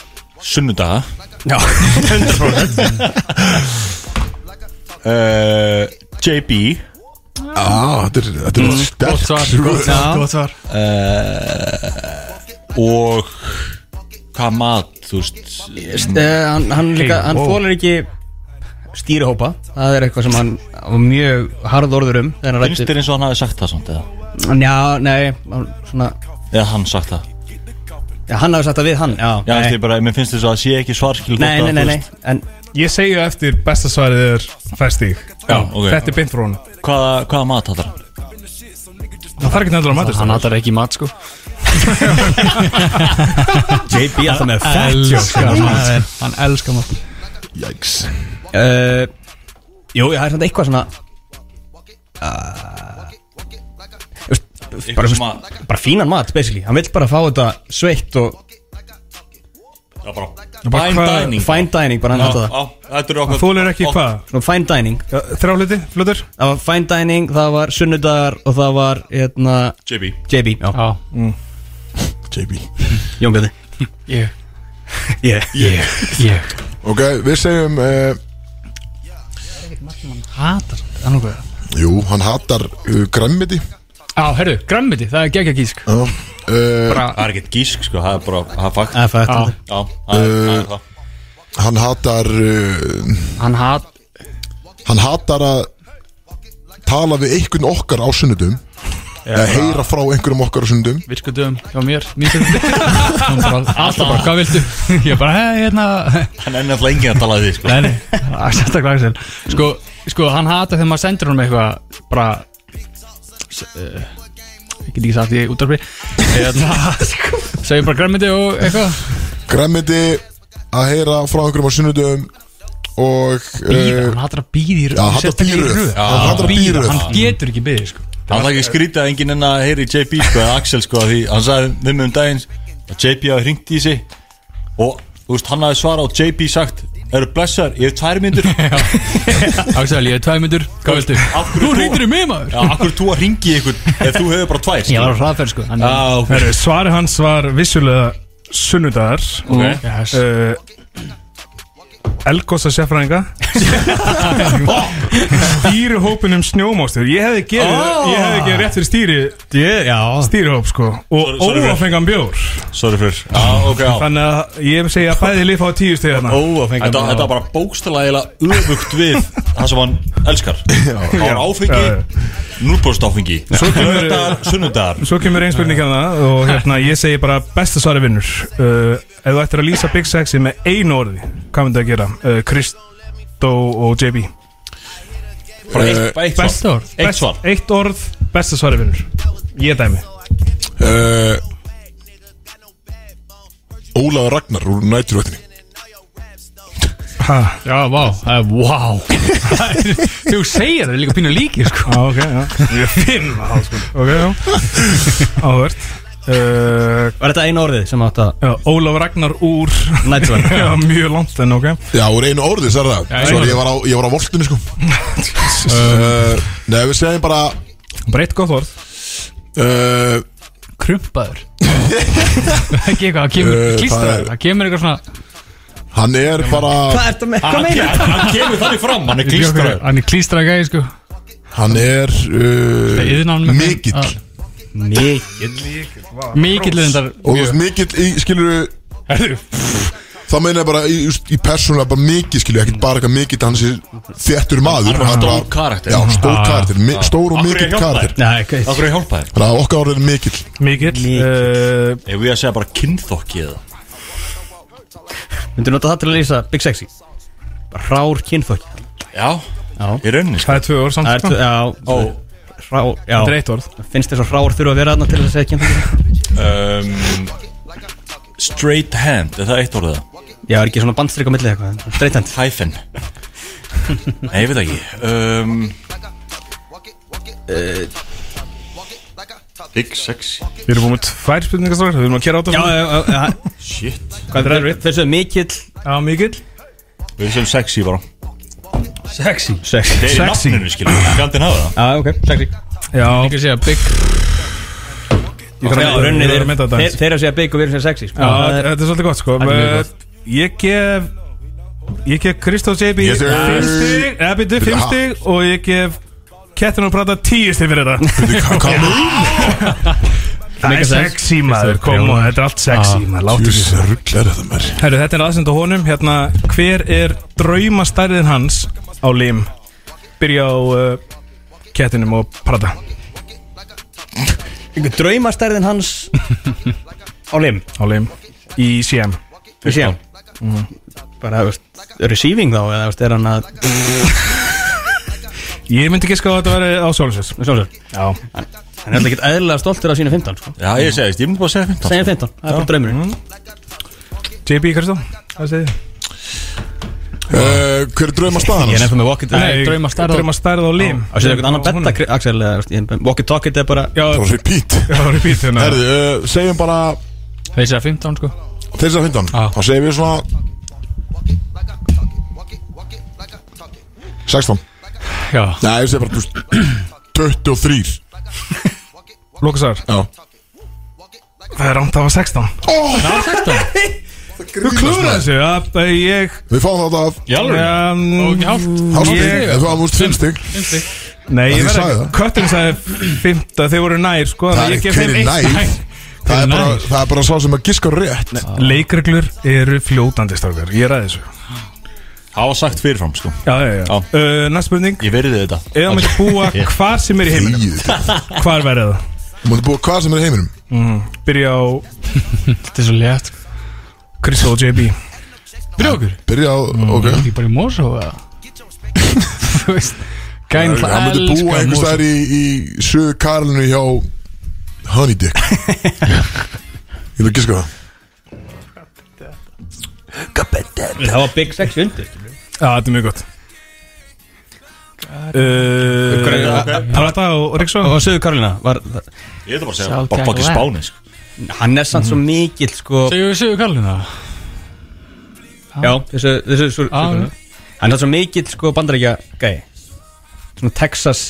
Sunnudaga Já uh, JB Á, Þetta er þetta er Gott stert svar, svör. gott svar, gott svar og hvað mat, þú veist mm, uh, hann, hann líka, hann wow. þolir ekki stýrihópa Það er eitthvað sem hann var mjög harð orður um Þegar hann Finnst rætti þér eins og hann hafi sagt það samt eða? Já, nei, hann, svona Eða hann sagt það? já, Hann hafði sagt það við hann, já, Já, nei. þetta er bara, mér finnst þess að það sé ekki svarskil Nei, nei, nei, nei, en Ég segja eftir besta svarið er fæstík Já, ok. Þetta er beint frá honum Hvaða, hvaða mat hattar hann? Það þarf ekki nefnilega að matast Hann hattar ekki mat sko JB alltaf með Elskar mat Hann elskar mat Jæks uh, Jú, það er samt eitthvað svona Eitthvað sem að Bara fínan mat, basically Hann vill bara fá þetta sveitt og Já, bara Fine hvað- dining fine dining bara hann Já, hætti það já, Þetta er okkur Þólir ekki hvað? Svona fine dining Já, Þrjá hluti, fluttur Það var fine dining, það var sunnudagar og það var, hérna, JB JB Já, Já, JB Jón Björni ég, Yeah ég Ok, við segjum eh, Hatar hann okkur Jú, hann hatar uh, græmmiti Já, herru, grammiti, það er geggja gísk Hann Það er ekkert gísk sko, það er bara, það er fakt Það er fætt Já, Já, það er það er það hatar uh, hann hat Hann hatar að tala við einhvern okkar á sunnudum eða heyra frá einhverjum okkar á sunnudum virkudum hjá mér Mér finnst þetta Alltaf bara, hvað viltu? Ég bara, hei, hérna Hann er nefnilega enginn að tala við því sko Nei, nei, sérstaklega Axel Sko, sko, hann hatar þegar maður sendur hann með eitthvað Bara s- eh, Ég get ekki sagt ég útarpi Hérna Segjum bara grammiti og eitthvað Græmmiti að heyra frá einhverjum á sunnudum og Bíða, uh, hann hatar að bíða í röð Já, hatar sérstaklega í bíða í röð. röð. Já, hann hatar að bíða í Bíða, röð. Hann getur ekki bíðið, sko Það er ekki skrítið að enginn enn að heyri JB sko, eða Axel sko, því hann sagði við mig um daginn að JB hafi hringt í sig og, þú veist, hann hafi svarað og JB sagt Eru blessar, ég hef tvær myndur Já, Axel, ég er tvær myndur, hvað viltu? Af hverju Þú þú- reyndir í mig maður akkur þú að hringi í ykkur ef þú hefur bara tvær Ég skilur? var á hraðferð sko hann, Já, ok Heru, Svari Eh, hans var vissulega Eh, sunnudagar Ok. yes. uh, Elgosa sérfræðinga stýri hópin um snjómástur Ég hefði gefið, Ah. Ó. ég hefði gefið rétt fyrir stýri Ég, já stýrihóp sko og sorry, Björn. óafengan bjór Sorry fyrir Já, ok, já þannig að ég segi að bæði lið fá tíu hérna. stegi þarna Óafengan Þetta, þetta var bara bókstælega öfugt við það sem hann elskar Það var áfengi, Já, já. núlbúrst áfengi Svo kemur- Eh, Lördagar, sunnudagar Svo kemur ein spurning hérna og hérna ég segi bara besta svari vinnur uh, Ef þú ættir að lýsa Big Sexy með einu orði Hvað myndi að gera? Uh, Kristó og JB Bara Eh, eitt, bara eitt Best svar orð Eitt best, svar. Eitt orð, besta svari vinnur Ég dæmi uh, Ólaður Ragnar úr næturvættinni Ha, Já, vá, það er vá Þú segir það, það er líka pínu líki, á, sko Ah, ok, já Ég er fimm á, sko. Ok, já Áhvert uh, Var þetta einu orðið sem átt að já, Ólaf Ragnar úr Nættvörn Já, mjög langt en ok Já, úr einu orði, sér það einu Sorry, orði. ég var á, ég var á voltinu sko uh, Nei, við segjum bara Bara eitt gott orð uh, Krumpaður Ekki eitthvað, það kemur Eh, það klístraður er- Það kemur eitthvað svona Hann er bara Hvað ertu með? Hvað Hann meinar? hann- hann kemur þannig fram, hann er klístraður Hann er klístraður gæði, sko Hann er uh, Það er iðnaðarmann með- Mikill Ah. Mikið Mikill leðindar Og þú veist, mikill, í, skilur við Það meina ég bara í, just, í persónulega bara mikill skilur Ekkert bara eitthvað mikill hans er þéttur maður Hann Stór karakter Já, stór karakter, mi, stór og Af hverju mikill hjálpa karakter þér? Nei, hvað Af hverju hjálpa þér? Þannig að okkar orðið er mikill Mikill uh, Ef við að segja bara kynþokki eða Myndu nota það til að lýsa Big Sexy Rár kynfökk Já, Já. í rauninni sko. Það er tvö orð samt Það er, sko. t- já, Ó, rá, já Þetta er eitt orð Finnst þess að rár þurfa að vera þarna til að segja kynfökk um, Straight hand, er það eitt orðið það? Já, er ekki svona bandstrik á milli eitthvað Dreitend Hyphen Nei, ég veit það ekki um, Big sexy Við erum búin með tvær spurningastrákar, við erum að kera á Já, þetta já, já, já Shit Hvað er erfitt? Þessu mikill Já, mikill Við sem sexy bara Sexy Sexy Þeir eru Sexy. nafninu skilur Fjandinn hafa það Já, ok, sexy Já, Ég ekki segja Big ég þarf Já, að rauninni ég þarf að mynda þeir, þetta þeir, aðeins. þeir að segja big og við erum að segja sexy sko. Já, þetta er svolítið gott sko Það er mjög Eh, Ég gef Ég gef Kristof JB Yes, sir. 5 stig, eða byrju 5 Ha. stig og ég gef Kettin og prata 10 stig fyrir þetta Bíddu, hvað- Hvað meina? Það er sexy maður, Ah. kom og þetta er allt sexy maður láttu sig. Þessi rugl er þetta mér Herru, þetta er aðsend á honum, hérna, hver er draumastærðin hans á lim? Byrja á uh, kettinum og prata Einhver draumastærðin hans á lim á lim í CM Við séum Bara, þú veist, receiving þá eða, þú veist, er hann að Ég myndi ekki skáða að þetta veri á Solsins Sjónsson Já Hann er alltaf ekki eðlilega stoltur af sínu 15, sko Já, ég segist, ég myndi bara að segja 15 Segjum 15, það er bara draumurinn JB Kristó, hvað segir þið? uh, Hver er drauma staðan Ég er hans? nefnum með walkie Nei, drauma stærð á- Drauma stærð á lim Það séu eitthvað annan betta, Kri- Axel eða, þú veist, ég- Walkie talkie þetta er bara Já, Það var repeat já, repeat hérna Herði, uh, segjum bara Þeir segja 15, sko Þeir sem að finna Já. hann Þá segjum við svona 16 Já Nei, ég segi bara þú veist, 23 Lókasar, Já það er rámt, það var 16 Þú klúður þessu, já, ég Við fáum þetta af Jálfur um, Og ekki hálft Hálfstig Ég- Ef þú hafum úst 5 stig Nei, ég Ég verð sagði ekki það. Köttin sagði 15, þeir voru nær, sko Það ég er gef þeim hverju eitt næð stig. Það er Hver er bara- nær? það er bara sá sem að giska rétt Leikreglur eru fljótandi strákar, ég ræði þessu Hafa sagt fyrirfram sko Já, já, já Já. Uh, Næst spurning Ég verði þetta Eða maður búa hvar sem er í heiminum Þýðið Hvar verður það? Þú mútti búa hvað sem er í heiminum Byrja á Þetta er svo létt Kristó og JB Brjókur Byrja á, ok Ég bara í Mosó eða Þú veist Gæn Það hann myndi búa einhvers þær í, í sögu Karlinu hjá Honey Dick Ég vil giska það Það var big sexy undir Já, þetta er mjög gott Eh, Uh, Prata og Ríksson Og Söður Karolina var Ég ætla bara að segja Sjá Bara bakið Jack spáni sko Hann er samt svo mikill, sko Þegar við segjum kallin það Já, þessu, þessu, þessu Já, ah, Hann er svo mikill sko bandarækja gæi Svona Texas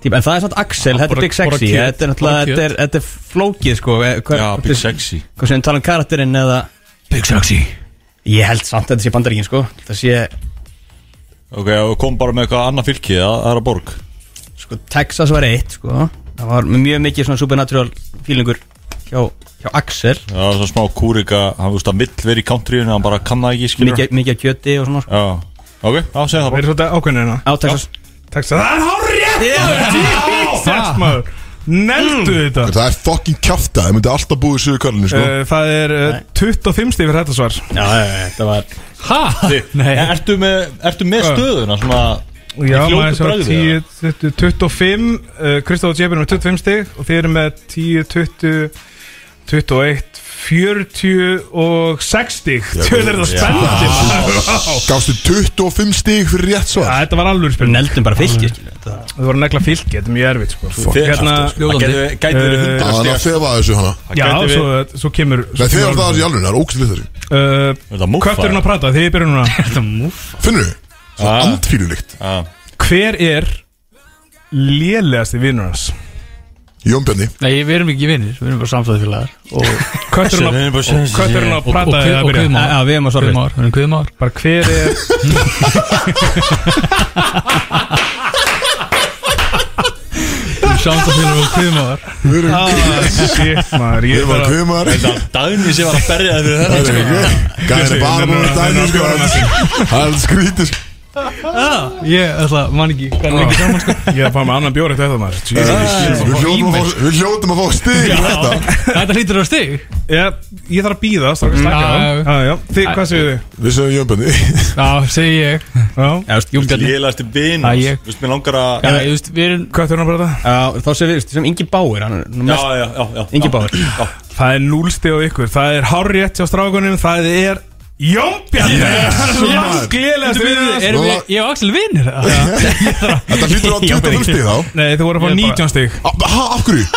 típa En það er samt Axel, þetta er bara- Big Sexy bara kjöt, Þetta er náttúrulega, bara kjöt. þetta er, þetta er flókið sko eh, hver, Já, big sexy Hvað sem við tala um karakterinn eða Big Sexy Ég held samt að þetta sé bandarækin sko Það sé Ok, og kom bara með eitthvað annað fylki að aðra borg sko, Texas var eitt sko. það var mjög mikið svona supernatural feelingur hjá, hjá Axel Já, það var svona smá kúrika, hann veist að mill verið í countryinu, hann bara kann það ekki, skilur mikið, mikið af kjöti og svona sko. Já, ok, já, segja það Við bara erum svolítið ákveðnir hérna á Texas Texas Það er hárið Jesus maður Neldu Mm. þetta Það er fucking kjafta, það myndi alltaf búið í sögur kallinu sko. Uh, Það er uh, 25 stíf fyrir þetta svar já, já, já, þetta var Hæ? Nei Ertu með, ertu með stöðuna, svona Já, fljótu maður svo bragði, 10, 20, 25 uh, Kristof og Jebjörn með 25 stíf og þið eru með 10, 20 21 40 og 60 Tjóðir þetta spennandi Vá. Gástu 25 stig fyrir rétt Ja, svar Þetta var alveg spennandi neldum bara fylki skilur, þetta var- Þau voru að negla fylki, þetta er mjög erfitt sko. Þið- Hérna, Það gæti verið- gæti verið Eh, Það hundra er að stjæst þefa þessu hana já, gæti svo, svo kemur Nei, þefa það þessu í alveg, það er ógstilega þessu uh, Þetta múffa Kötturinn að prata, þið byrjum núna Finnur þau? Svo Ah. andfýlulikt Hver er lélegasti vinnur hans? Jón Bjarni Nei, við erum ekki vinnir, við erum bara samfæðfélagar og, Kötturinn að Kötturinn að og, prata og, eða og byrja? kviðmár Já, já, við erum að svara Kviðmár, við erum kviðmár Bara hver er Samfæðfélagar og kviðmár Við erum Ah, Shit maður Ah. Við Ég er erum að bara kvimar Dagni sem var að berja það fyrir þetta Gæðin er bara búin að dæmi sko Það er skrítið sko. Ég ætla, man ekki, hvað er ekki saman sko Ég er bara með annan bjóri þetta maður Jesus. Við hljótum að fá- Við hljótum að fá stig fyrir þetta Þetta hlýtur á stig Ég ég þarf að býða Strákar Mm, Já, já, já. stakka það Já, já. Þið, hvað séu þið? Við sögum Jón Bjarni Já, segi ég Já. Júmbjarni Lélægasti vinn Æ, ég. Vist, mér langar að Já, þú veist, við erum Kötturinn að prata já, þá sem við sem Ingi Báir hann er nú Já, mest já, já, já Ingi Báir Það er núlsti á ykkur Það er hárrétt hjá strákunum Það er Jómbjarni Langt lélegasti vinnur hans Erum við, Sko- ég og Axel vinnir það Þetta hlýtur á 25 stig þá Nei, þið voru að fá Ég er bara- 19 stig Á- ha, Af hverju?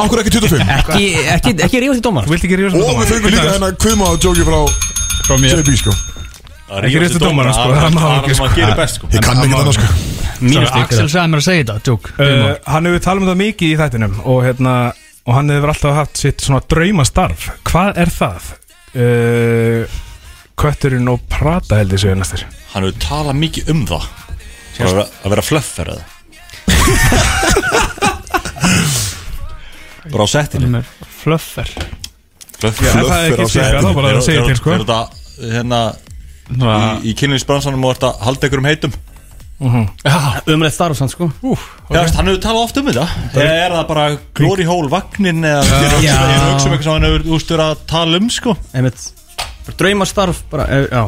Af hverju ekki 25? ekki, ekki, ekki rífast í dómar Þú vilt ekki rífast með Og við fengum líka dómarann? hennar kvima og jóki frá Frá mér JB sko Ekki réttu dómarann, sko, það má Það ekki, sko. er sem að gera best sko Ég kann ekki annars sko mínus stík Axel sagði mér að segja þetta, tjók Uh, Hann hefur talað um það mikið í þættinum Og hérna Og hann hefur alltaf haft sitt svona draumastarf Hvað er það? Uh, Kötturinn og prata held ég segja næstir Hann hefur talað mikið um það Bara að vera- Að vera flöfferð Bara á settinu Flöffer Flöffer ef það er ekki Flöffer á stíka, settinu. þá bara að segja til sko Er þetta hérna Í, í kynlýnsbransanum og ert að halda ykkur um heitum okay. umrætt starf sann sko veist, Hann hefur talað oft um þetta Eða er það bara glory hole vagnin eða ég Já. er hugsa um eitthvað sem hann hefur úst verið að tala um sko einmitt draumastarf bara eh, já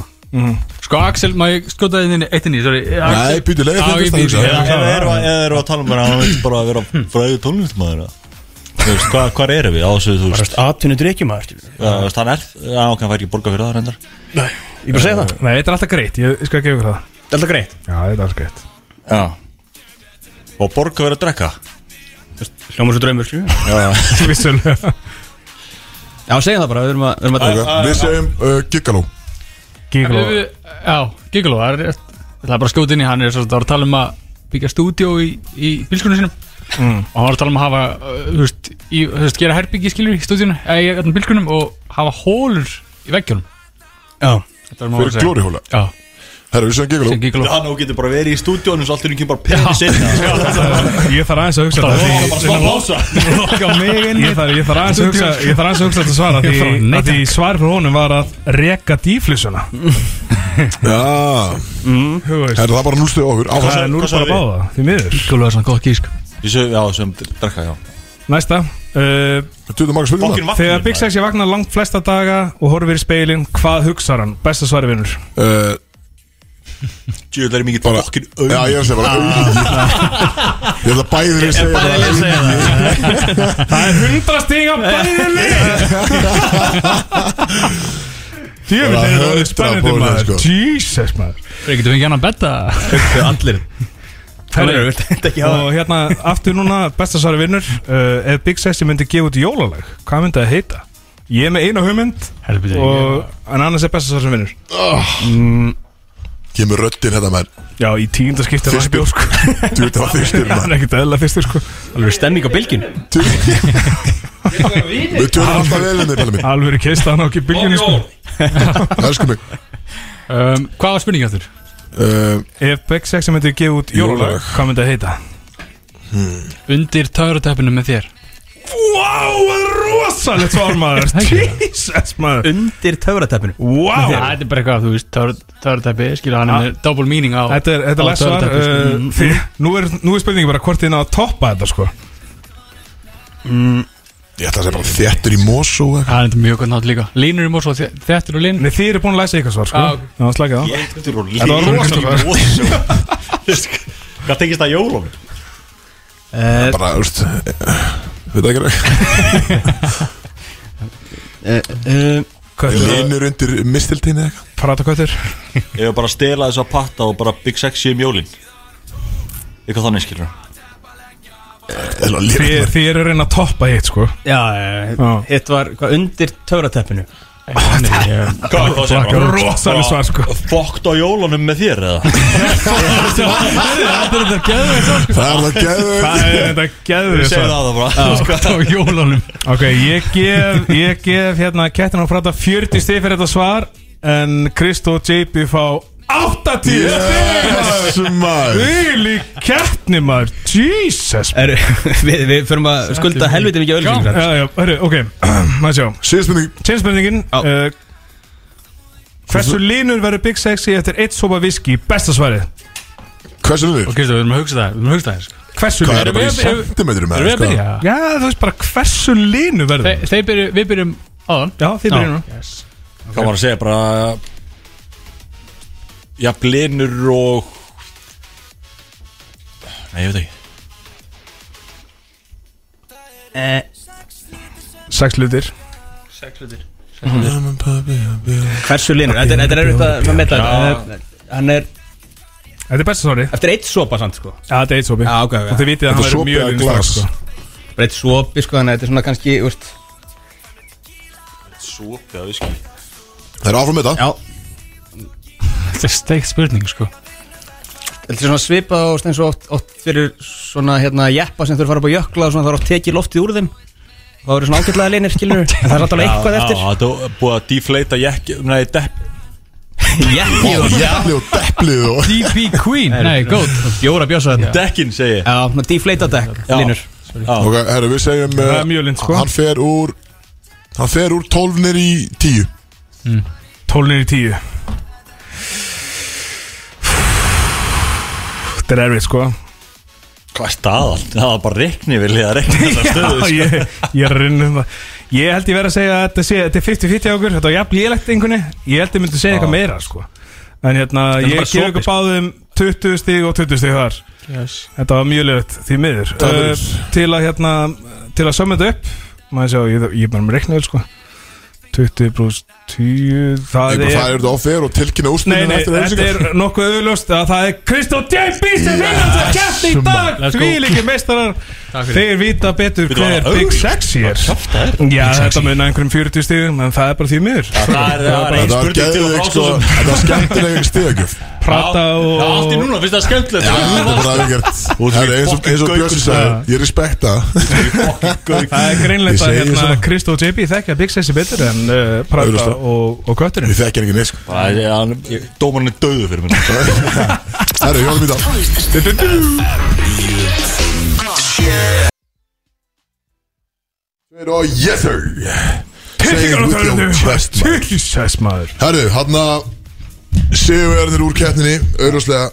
Sko Axel, má ég skjóta þið inn í eittinni, sorry Axel- Nei, býtu leið Já, ég býtu, fyrst að Eða hugsa eða erum við að, að tala um bara að hann vil bara vera fræðu tónlistmaður eða? Þú veist, hvað, hvað erum við á þessu þú veist atvinnu drekjumar ég Já, þú veist, hann er, já, ok, hann fær ekki borga fyrir það reyndar bara segja það Nei, þetta er alltaf greitt, ég, ég skal gefa ykkur það þetta er alltaf greitt Já, þetta er alltaf greitt Já Og borga fyrir að drekka hljóma svo draumur skilju Vissulega já segja það bara við erum að við erum að Ok, taka Við segjum uh, Giggaló Giggló Við- við- Já, Gigolo, það er rétt. Það er bara að skjóta inn í hann er svo að það var að tala um að byggja stúdíó í, í bílskunum sínum og hann var að tala um að hafa uh, þú veist, í, þú veist, gera herbyggi skilur í stúdíunum eða í öllum bílskunum og hafa hólur í veggjunum já Þetta er maður að Fyrir segja. glórihóla Já, Herra, við segjum Giggaló sem Gigolo Hann og getur bara verið í stúdíónum svo allt er ekki bara penni sinna Ég þarf aðeins að hugsa þetta því- Bara smá blása Loka mig inn Ég þarf, ég þarf aðeins að hugsa Ég þarf aðeins að hugsa þetta svara Ég þarf- Því, nei, að því svar frá honum var að reka dýflissuna Já, Það herra, það er bara núlstuð okkur Áfram er hvað núl sagði bara við? báða, því miður Gigolo er svona góð gísk Ég segi, já, sem drekka, já Næsta uh, Tutum marga spurningar Fokkin Þegar vagnin Big Sexy vagnar langt flesta daga og horfir í speilin, hvað hugsar hann? Besta svari vinnur Uh, Djúvel er ég mikið bara- fokkin Já, ég er að segja bara auðvitað. Ég ætla bæðir að segja bara auðvitað. Það er hundra stig af bæði lið Djöfull Það er er það orðið 100% spennandi bóðið, maður sko. Jesus maður Þeir getum ekki hann að betta allir Herri, þetta ekki Og hérna aftur núna besta svari vinnur uh, Ef Big Sexy myndi gefa út jólalag hvað myndi það heita? Ég er með eina hugmynd Helviti og en annars er besta svar sem vinnur Kemur röddinn hérna menn Já, í tíundaskipti Fyrstur. Þú veit það var hérna. fyrstur Það maður. er ekkert eðla fyrstur sko alveg stemming á bylginu Við tölum alltaf vel um þig, Palli minn Alveg er keist að hann á ekki bylginni sko Elsku mig um, Hvað var spurningi áttur? uh, Ef Big Sexy myndi gefa út Jólalag. jólalag, hvað myndi það heita? Undir törutöppinu með þér Vá, wow, rosalegt svar maður Jesus maður Undir töfrateppinu Já, Vá þetta er bara eitthvað, þú veist, töru- törutöppi Skilja hann er með double meaning á Þetta er, þetta er á lest svar töfrateppi, sko. uh, Mm. því Nú er, nú er spurningi bara hvort þið ná að toppa þetta sko Ég ætla að segja bara þéttur í mosu og eitthvað. Það er þetta mjög gott nátt líka Línur í mórsó, þettur og lín Nei, þið eru búin að læsa ykkar svar sko Já, ok. Já, slakið á Léttur og Þetta var rosalegt Hvað tengist það jólum? Bara, þú veist Við það ekki Köttur, Linur undir mistiltíni eða eitthvað prata köttur Ég var bara að stela þess að patta og bara Big Sexy um jólin Eitthvað þannig skilur Það er alveg Þið, lélegt, maður. þið eru að reyna að toppa hitt sko Já, já, já. Já. eh, Hitt var hvað, undir töfrateppinu Hvað var það Blakkar rosaleg svar, sko. Fokkt á jólunum með þér eða? Það er það Það geðveikt. er þetta geður Segðu svar það bara Á jólunum Ok, ég gef, ég gef hérna kettin og prata 40 stið fyrir þetta svar En Kristó og JP fá 80 yes. Þessu maður Þvíli kettni maður Jesus Er, við, við förum að skulda helviti mikið Eh, Já, öllu já, hörru, ok, maður sjá Síðspurning Seinspurningin Já. uh, Hversu línur verður Big Sexy eftir eitt sopa viski? Besta svarið Hversu Og línur? Kristof, við erum að hugsa það Við erum að hugsa það sko. Hversu Hvað er það línur? bara í við- sentimetrum Erum við að byrja? Já, þú veist bara hversu línur verður Þeir, þeir byrju, við byrjum áðan Já, þið byrjum nú yes. Hvað var að segja bara Já, blinur og Nei, ég veit ekki Eh, Sex hlutir Hversu linur, þetta er- þetta er erfitt að að meta þetta En, eh, Hann er Þetta er besta svarið eftir eitt sopa samt sko Já, þetta er eitt sopi Já, ok, Og ok þið vitið Þetta að hann er verður sopi mjög eða línur svar, glas sko. Bara eitt sopi sko, þannig að þetta er svona kannski, úrst Svopi að viski Það er áfram með þetta Já, Þetta er steikt spurning sko Þetta er svona svipað og eins og oft, oft fyrir svona hérna jeppa sem þurfa að fara upp á jökla og svona það er oft tekið loftið úr þeim og það eru svona ágætlega linir skilur en það er alltaf alveg eitthvað eftir Já, það er búið að deflata jekk Nei, depp Jeppi og Jæfli og deplið og DP Queen Nei, góð Jóra bjósa þetta Dekkin segi ég Já, svona deflata deck Já. linur Ok, herru, við segjum Það eh, er mjög lint, sko. Hann fer úr Hann fer úr 12 nir í 10 Tólnir í tíu Þetta er erfitt sko Hvað er staðal? Það var bara rekni vilja að rekni þetta Já, stöðu sko. ég, ég er rinn um það Ég held ég verið að segja að þetta sé Þetta er 50-50 á okkur, þetta var jafn lélegt einhvernig Ég held ég myndi segja eitthvað meira sko En hérna, er ég bara gef ykkur sopi, sko. báðum 20 stig og 20 stig þar yes. Þetta var mjög lélegt því miður Það verður. uh, Til að hérna, til að sömmu þetta upp Maður sjá, ég, ég er bara með reiknaður sko 20 brús 10 Ég Það bara er færi þetta á fer og tilkynna Nei, úrspunnið nei, eftir þetta auðvisingar er nokkuð auðljóst að það er Kristó J.B. sem vinnar þetta kæfti í dag Let's go. Því líki meistarar Takk fyrir. Þeir vita betur Bíddu, hver var það Big augljóst? Sexy er Já, þetta mun einhverjum 40 stíðum en það er bara því miður Það er- það er einn Þetta var spurning til að geðveik frá sko svo sem Þetta var skemmtileg stegjöf Prata Já, og allt í núna, finnst það skemmtilegt Þetta er bara aðeins Þú ert Herru, eins og- fucking eins og gaukur, Björsi sagði Ég respekta það. Það er Ég greinlegt að segi hérna, svona. Kristó og JB þekkja Big Sexy betur en uh, Prata Augljóslega. og, og Kötturinn Ég þekki hann ekki neitt sko Það er- hann- ég- Dómarinn er döðu fyrir mér Herru, hjálpum í dag Og yes sir Say it Tilfingar á with your chest, man. törnum Jesus maður Herru, hérna, hann að Sigurverðir úr keppninni Auðvitað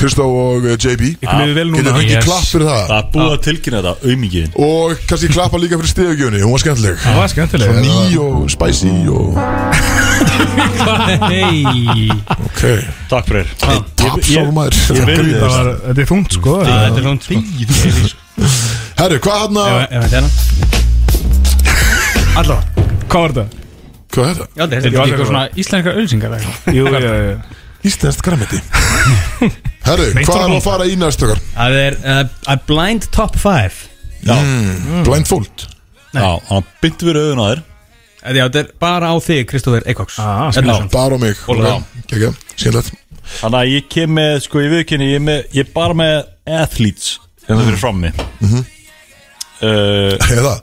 Kristó og eh, JB Ég kom við vel Getur núna ekki yes. klapp fyrir það Það er búið að tilkynna þetta, auðmikið Og kannski klappa líka fyrir stegjöfni Hún var skemmtileg Það var skemmtileg Ný og spicy og Nei Ok Takk fyrir Tapsál maður virði Það var- Þetta er þungt sko Þetta er langt sko Herru, hvað hérna- hann að Ef þetta er hann Allá, hvað var þetta? Hvað hérna? er þetta? Já, þetta er Þetta var er líka alveg svona íslenska ölsingar Jú, já, já, já Íslenskt græmiti Herru, hvað er að fara í næstu okkar? Það er uh, a blind top 5 Blindfold Já, hann byndi fyrir auðun á þér Þetta Eh, já, þetta er bara á þig, Kristófer Hérna Eikoks Ah, Ednarsson. Bara á mig Ólega. Kekja, skemmtilegt Þannig að ég kem með, sko, ég viðkynni Ég er, með, ég er bara með athletes Þetta fyrir Eh, frammi uh, Eða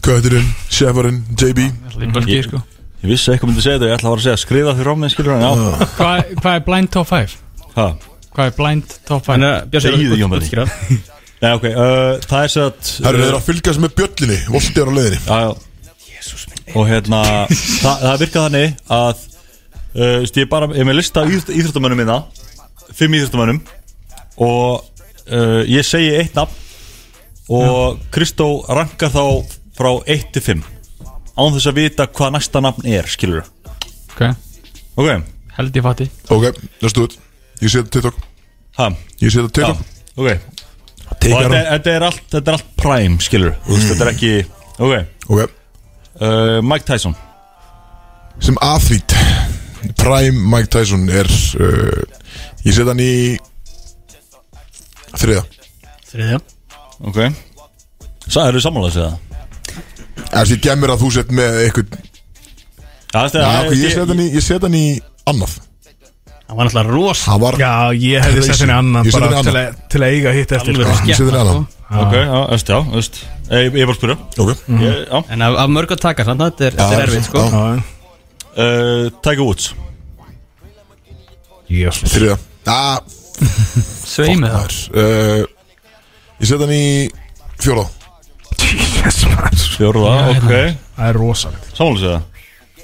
Kötturinn, Shefarinn, JB Bölgi sko Ég vissi að eitthvað myndi segja þetta, ég ætla að fara að segja skriða því rámið, skilur en já, Hvað hvað er blind top 5? ha, Hvað er blind top 5? Þannig að Björn Segið þið, Jón Bjarni. útskýra. Nei, ok, uh, það er sett Það eru þeir að fylgjast með bjöllinni Volti er á leiðinni Já, já Og hérna, það, það virkað þannig að uh, veist, Ég bara, ég er með lista íþ- íþróttamönnum minna Fimm íþróttamönnum Og uh, ég segi eitt nafn Og Kristó rankar þá frá 1 til 5 Án þess að vita hvað næsta nafn er, skilur Ok, Ok, held ég fatti Ok, let's do it Ég sé þetta TikTok ha, Ég sé þetta já, TikTok ok Og Teikar þetta er, hann þetta er allt, þetta er allt prime, skilur mm. Þetta er ekki, ok Ok uh, Mike Tyson Sem athlít Prime Mike Tyson er uh, Ég set hann í Þriða Þriðja Ok Sæ, eru sammálaðs eða? Þessi ég gemur að þú sett með eitthvað Já, þetta Já, ok, Ég ég- set hann í, ég set hann í annað Hann var náttúrulega ros Hann var Já, ég hefði Crazy. sett henni annan Ég sett bara henni til að, til að eiga hitt eftir Já, sko. Ah, Ég set hann í annað Ok, já, öst, já, öst Eh, Ég, ég er bara að spyrja Ok ég, Já En af, af mörg að taka, þannig að þetta er, þetta er erfitt sko. já, Já, uh, Tiger Woods Jésus Þriða Já, Sveimið það maður uh, Ég set hann í fjóla Jésus maður Fjórða, ok Það er rosalegt Sammálaðs eða?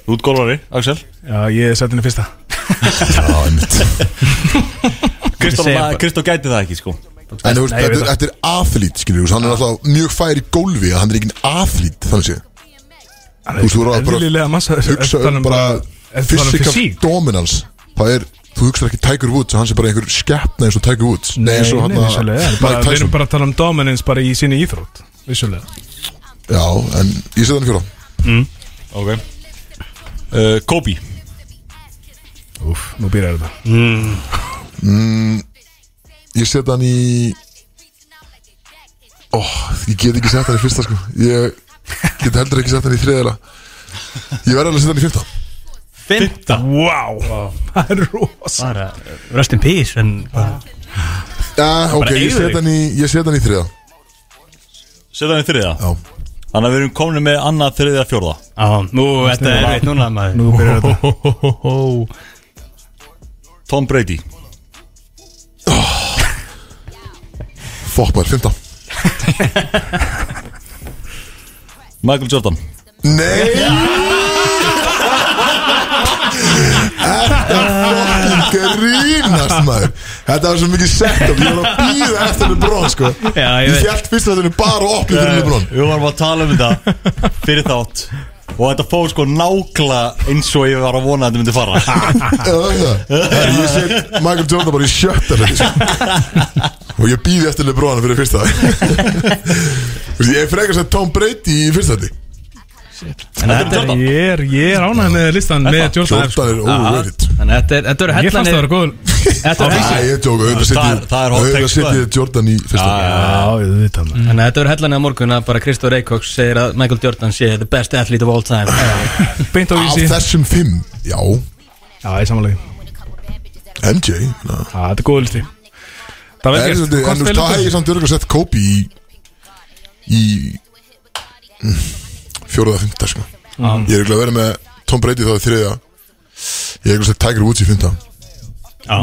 Þú ert golfari, Axel Já, ég sett henni fyrsta Kristó segja ma- bara- Kristó gæti það ekki, sko En þú veist, Nei, ég veit þetta, þetta er athlít, skilur þú veist, Hann er alltaf mjög fær í gólfi að Hann er ekki athlít, þannig séð Þú veist, þú er að bara Eðlilega massa hugsa um bara Physical um Fysík dominance Það er, þú hugsar ekki Tiger Woods að Hann sé bara einhver skeppna eins og Tiger Woods Nei, eins og hann að Mike Við erum Tyson bara að tala um dominance bara í sinni íþrótt Vissulega Já, en ég set hann í fjóla Ok uh, Kobe Úf, nú býrar þetta Ég set hann í Ó, ég get ekki sett hann í fyrsta sko Ég get heldur ekki sett hann í þriðala Ég verð alveg að setja hann í fyrsta Fynda Vá, það er rosalegt Bara rest in peace En bara Já, ok, ég eigðu set hann í, ég set hann í þriða Setja hann í þriða Já, Þannig að við erum komin með annað þriðið að fjórða Á, nú þetta er erfitt núna maður Nú býrar þetta Tom Brady fokk maður, fymta Michael Jordan Nei Þetta fokkin grínast maður Þetta var svo mikið setup Ég var að býða eftir með brón sko Já, ég Ég veit. fjart fyrst að þetta er bara opnið fyrir með brón Við varum að tala um þetta Fyrir þátt Og þetta fór sko nákla eins og ég var að vona að þetta myndi fara Ég set Michael Jordan bara í sjötta hluti, sko. Og ég býði eftir með brón fyrir fyrsta Þú veist, Ég er frekar sem Tom Brady í fyrsta þetta En þetta er, Jordan. Ég er, ég er ánægð með listan með Jordan F, sko. Jordan er óverið þannig að þetta er, þetta eru Ég fannst það hellanir var góð Þetta eru Æ, hellanir ég tók auðvitað Það er- setjið það er hot take, Auðvitað sko. setjið Jordan í fyrsta Já, ég veit það Þannig að þetta eru hellanir á morgun að bara Kristóf Reykjóks segir að Michael Jordan sé the best athlete of all time Beint á Af vísi þessum fimm, já Já, ég samanlega MJ na. Já, þetta er góð listi Það En þú verður gert Hvort veist, spilur það hef ég þetta? samt örgulega sett Kobe í í mm, fjóruða fymta sko Ég er ekki að vera með Tom Brady þá í þriðja Ég er ekki að setja Tiger Woods í fymta Já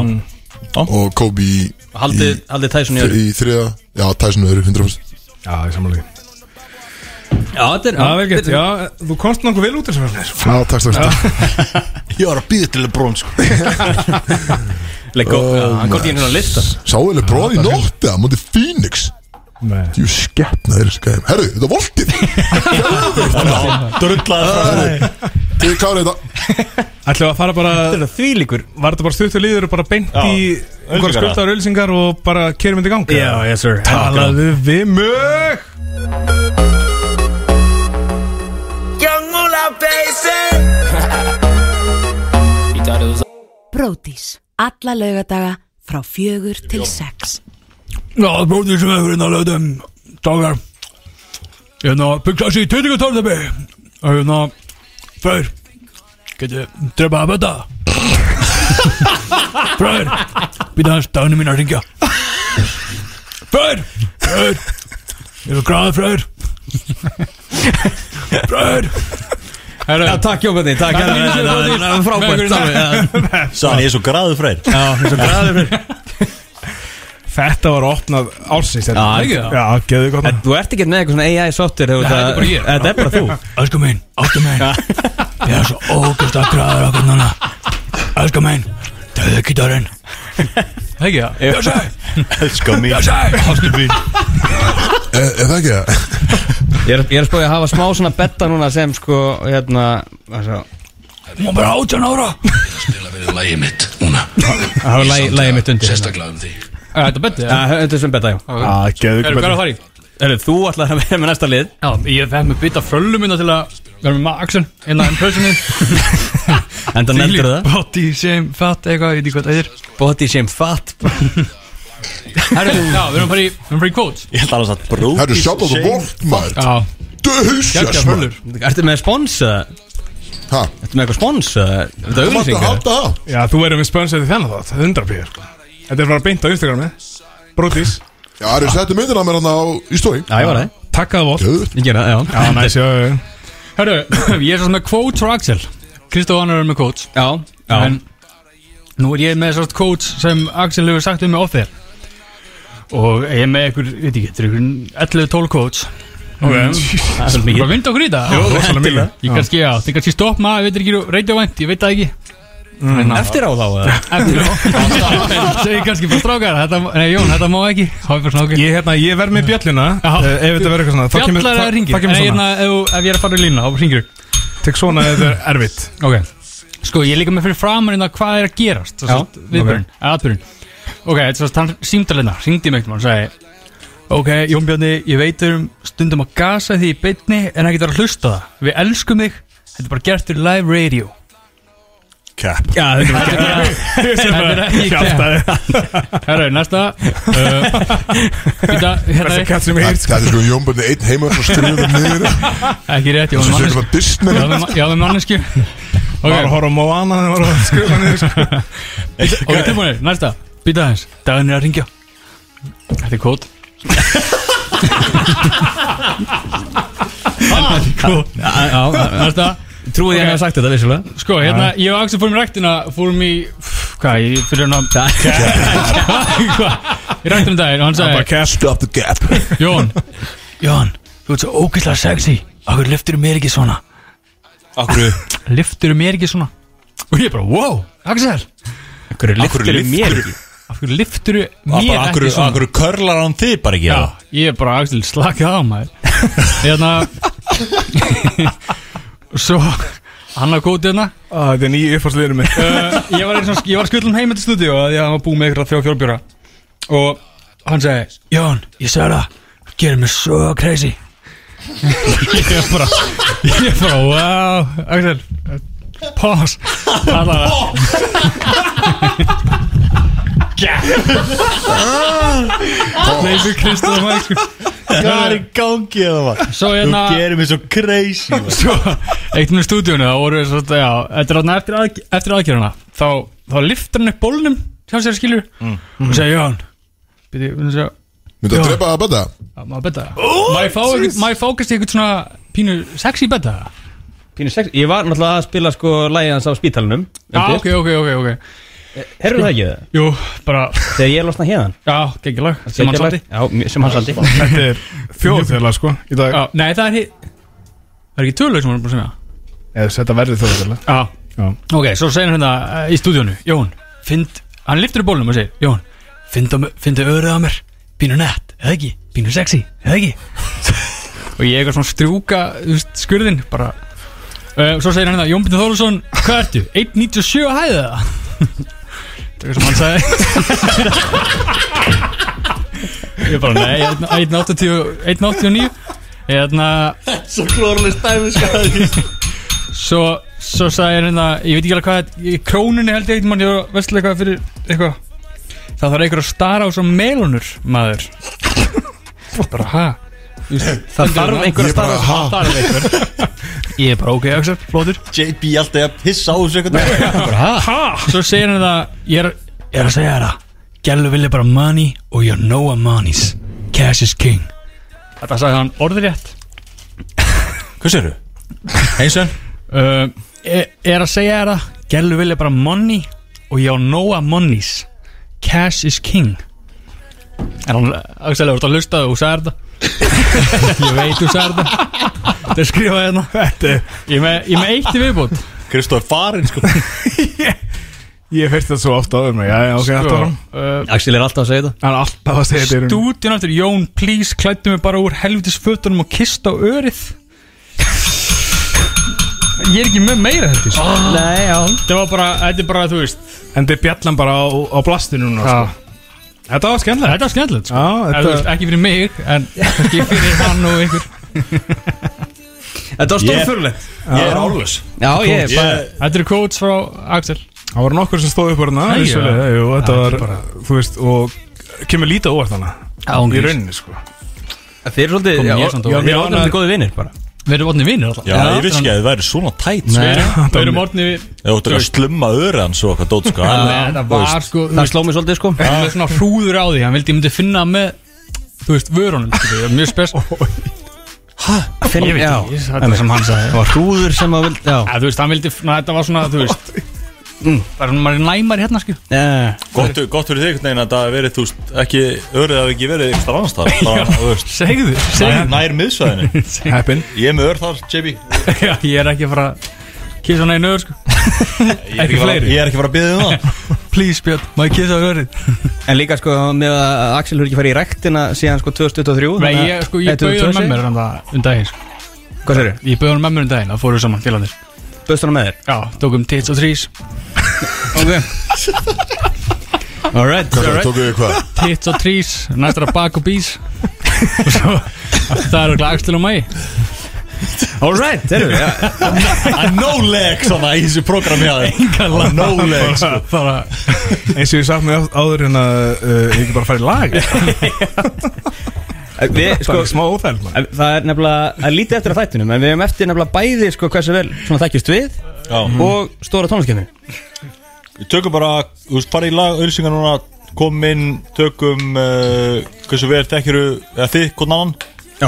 og Kobe í, Haldið haldið Tyson í öru í þriðja Já, Tyson öðru, 100% Já, ég samanlega Já, þetta er Já, vel gett Já, þú komst nokkuð vel út þessu verður Já, takk stakst það Ég var að býða til LeBron sko Leggó, hann kom í hérna að lista Sáðileg bróði nótti að múti Phoenix Nei Jú, skeppna þeir þessi gæm Herru, þetta er voltið Drullaði frá þér Þið klára þetta Ætlum við að fara bara Þetta er því líkur Var þetta bara stutt og liður og bara beint Já, í einhverja auglýsingar, skuldaður ölsingar og bara kerum þetta í ganga Já, yes sir Talaðu við mög Bródís. Alla laugadaga frá fjögur til sex. Já, bróðir sem hefur hérna löðum Dagar Hérna, byggja sér í tætingu tórðabbi Hérna, fröður Geti, drepa að betta Fröður Býta hans daginu mín að ringja Fröður Fröður Ég er gráð fröður Fröður Herru, Já, takk Jómanni, takk Takk fyrir þessu, hérna Frábært bróðir. Með ykkur í dag. alveg, já. Sann, ég er svo graður freyr Já, svo græður fyrir Þetta var opnað ársins þetta. Já, ekki það? Já, geðu gott En Þú ert ekki með eitthvað svona AI sóttir Nei, þetta er bara ég. Þetta er bara þú Elsku minn, áttu minn Ég er svo ógust að græður okkur núna Elsku minn, döðu gítarinn Ekki það? Já, sæ, Elskar mig sæ Áttu minn Er er það ekki það? Ég er, ég er spóið að hafa smá svona betta núna sem sko hérna Svo Má bara átján ára spila fyrir lægið mitt núna hafa lagi- lagið mitt undir hérna. Sérstaklega um þig Þetta betið, Já, þetta er sem betta, já Já, Ah, geðu Erum gott hvað er að fara í? Heru, Þú ætlaði að vera með næsta lið Já, ég fæði með bytta fröllu minna til að vera með Maxon innan enn pössunni En það neldur það body sem fat eitthvað, ég veit ekki hvað það er Body sem fat Herru, já, við erum að fara í, við erum að fara í quotes Ég held alveg að brókis Herru, sjátt á þú vort maður Já, Döðsjast geggjað maður fröllur Ertu með spons eða? Hæ? Ertu með eitthvað spons eða? Er Þú Þetta mátt að auðlýsingar halda það Já, þú verður með spönsið þennan þátt, 100 pýr Þetta er bara beint á Instagrami Brodís, Já, Ari, settu myndina af mér hann á í stóri Já, ég var það takkaðu vol Döðt Ég gera það, já Já, næs, já, já, já Herru, ég er svo sem með quotes frá Axel Kristof Annar er með quotes Já, já En nú er ég með svona quotes sem Axel hefur sagt um mig off þér Og ég er með einhver, veit ekki, þetta er einhver 11-12 quotes Ok, Það er svolítið Bara mikið vinda okkur í þetta Jú, rosalega mikið. Ég kannski, já, þið kannski stopp maður, ég veit ekki, radio vænt, ég veit það ekki Eftir á þá eða? Eftir á Segir kannski bara strákar, þetta, nei Jón, þetta má ekki Háði bara svona okkur ég, hérna, ég verð með bjöllina Já. eh, Ef þetta verður eitthvað svona þá kemur- Fjallar eða þá- ringir þá kemur En svona. hérna, ef, þú- ef ég er að fara í línuna, þá ringir Tek svona ef þetta er erfitt Ok, sko ég er líka með fyrir framarinn að hvað er að gerast Já, Viðbjörn, okay. aðbjörn Ok, þetta er svo að hann símdalinna, ringdi mig og sagði Ok, Jón Björni, ég veit um stundum að gasa því í beinni en ekki þarf að hlusta það Við elskum þig, þetta er bara gert fyrir live radio Cap Já, þetta var Þetta er ekki Herra, næsta Þetta, hérna, Þessi katt sem ég hýrt Þetta er sko jómböndi einn heima og skrifa niður ekki rétt, Svo ég var sér með eitthvað Disney mannesku Já, við mannesku Var að horfa á Moana þegar var að skrifa niður sko. Ok, tilbúinir, næsta Býta aðeins, daginn er að ringja Þetta er kót mikið Næsta Trúið ég að Ok. hafa sagt þetta vissulega Sko, hérna, ég og Axel fórum í ræktina Fórum í, pff, hvað, ég fyrir hann að Hvað, í ræktina um daginn Og hann sagði, Stop the gap Jón Jón, þú ert svo ógeðslega sexy Akkur lyftur mér ekki svona Akkur Lyftur mér ekki svona Og ég bara, wow, Axel Hverju Akkur lyftir mér ekki? Af hverju lyftur mér Akkur, ekki svona akkur körlar hann þig bara ekki eða? Já, ég er bara Axel slakað á maður Hérna Svo Hann að kóti hérna Á, Þetta er nýju uppfársliðinu mig uh, Ég var, eins og- ég var skullum heim til stúdíu Því að hann var búið með ykkur að þrjá fjórbjóra Og hann segi Jón, ég sagði það, þú gerir mig svo crazy Ég er bara Ég er bara, wow Axel, eh, pause Alla, Leifur Kristján Mæk Hvað er í gangi eða maður? Svo Þú hérna gerir mig svo crazy maður. svo, eitt með stúdíunni þá voru við svo, já, eftir, að, eftir, að, eftir aðgerðuna þá, þá liftur hann upp bólnum sem sér skilur og segja Jón byrju, hún segja, Myndi að drepa það bæta "Já, má ég betta má ég fá einhvern- má ég fókast í eitthvað svona pínu sexy betta Pínu sex Ég var náttúrulega að spila sko lægið hans á spítalunum já, Ah, ok, ok, ok, ok Herru það ekki það? jú, bara, Þegar ég losna hérna já, geggilag sem hann sátti Já, mj- sem hann saldi Þetta er þjóðfjöla sko Í dag já, nei, það er hi- það er ekki töluleg sem hann er búin að segja Eða þetta verður þjóðfjöla já, Já. ok, svo segir hann hérna eh, í stúdíunni Jón, find, hann liftur upp bólnum og segir Jón, findu, findu öruð á mér pínu nett, eða ekki, pínu sexy eða ekki og ég eitthvað svona strjúka þú veist, skurðin bara uh, svo segir hann það, Jón Bindur Þólusson hvað ertu, 1.97 að hæða það það er sem hann sagði ég bara, nei, ég er 1.80 1.89 ég er þarna svo svo sagði hann það, ég veit ekki alveg hvað þetta- í krónunni held ég eitthvað, ég var vestlega eitthvað fyrir eitthvað það þarf einhver að stara á svo melunur maður bara, ha Þú veist, Það þarf einhver að Ég bara, starfa ha? Það þarf einhver Ég er bara ok, Axel, flóður JB alltaf er að pissa á þessu einhvern veginn Svo segir hann það Ég er, ég er að segja það Gælu vilja bara money og you know a money's Cash is king Þetta sagði hann orðrétt Hvað sér þú? Einsen? uh, er, er að segja þér það Gerlu vilja bara money og ég á nóa monies Cash is king En hann, Axel, þú ert að hlusta og sagði þetta Ég veit þú sagði þetta Þetta er skrifað hérna Þetta er- Ég er með, ég er með eitt í viðbútt Kristóf farinn sko Ég fyrst þetta svo oft áður mig Já, já, ok, þetta var hann uh, Axel er alltaf að segja þetta Hann er alltaf að segja þetta Stúr Stúdíun eftir Jón, please, klættu mig bara úr helvitis fötunum og kista á örið Ég er ekki með meira þetta sko. Ah, Ah. Nei, já Þetta var bara, þetta er bara, þú veist En þið bjallan bara á, á blastinu núna sko. Þetta var skemmtilegt Þetta er skemmtilegt sko. Já, Eða, þú veist, þetta Ekki fyrir mig, en ekki fyrir hann og ykkur Þetta var Ég- stórfurlegt Ég er álfus Já, ég er bara Ég Þetta eru quotes frá Axel Það voru nokkur sem stóðu upp úr hana Nei, vissulega, já. jú, Þetta Já, var, þetta er þú veist Og kemur lítið óvart hana Í Ángríns. rauninni, sko Þeir eru svolítið Kom já, ég samt á- já, ég Við var erum annað- alveg góði vinnir bara Við erum orðinni vinnir alltaf Já, ég vissi ekki að þið væri svona tætt sko. Nei, við erum Tommy. orðinni Ef Þú ættir að slumma öðru hans og eitthvað dót sko en- þú Þetta veist, var sko þú Það veist, sló mig svolítið sko Hann var svona hrúður á því Hann vildi ég myndi finna með Þú veist, vörunum skilur við, Mjög spes Finn, Ég veit já ekki, þetta er sem hann sagði Það var hrúður sem að vild Já Ja, þú veist, hann vildi, na, þetta var svona, þú veist Bara mm. maður er næmar hérna, skil Eh, Gott, gott fyrir þig einhvern veginn að það hafi verið, þú veist, ekki öðruð hafi ekki verið einhverstað annars þar bara, þú veist, Segðu, nær, nær miðsvæðinu Heppin Ég er með öður þar, JB Ég er ekki að fara að kissa hana í nöður, sko Ég er ekki fara- ég er ekki fara að byggja um það Please, Björn, má ég kissa á nöðrið En líka sko með að Axel hefur ekki farið í rektina síðan sko 2023 Nei, þannig að- ég, sko, ég Nei, 2026. bauði hann með mér um, um daginn, sko Hvað sér þér? Ég bauði hann með mér um daginn, það fóru saman félagarnir Böðst hana með þér? Já, tókum tits og trís Ok Alright Hvað það tókuðu þið hvað? Tits og trís, næstur að bak og bís Og svo, það eru glagstil og mæ Alright, þeir eru já. Að No leg svona í þessu programmi að þér Að No leg sko Bara, Eins og ég sagt mig áður hérna uh, Ég ekki bara farið í lag Við Bara sko í smá óþæl maður. En Það er nefnilega, það er lítið eftir að þættinum En við hefum eftir nefnilega bæði sko hversu vel Svona þekkjast við Já, og stóra tónlistkefni við tökum bara, þú veist, fara í lag, ölsingar núna Kom inn, tökum, uh, hversu vel þekkiru, eða þið, hvern annan Já.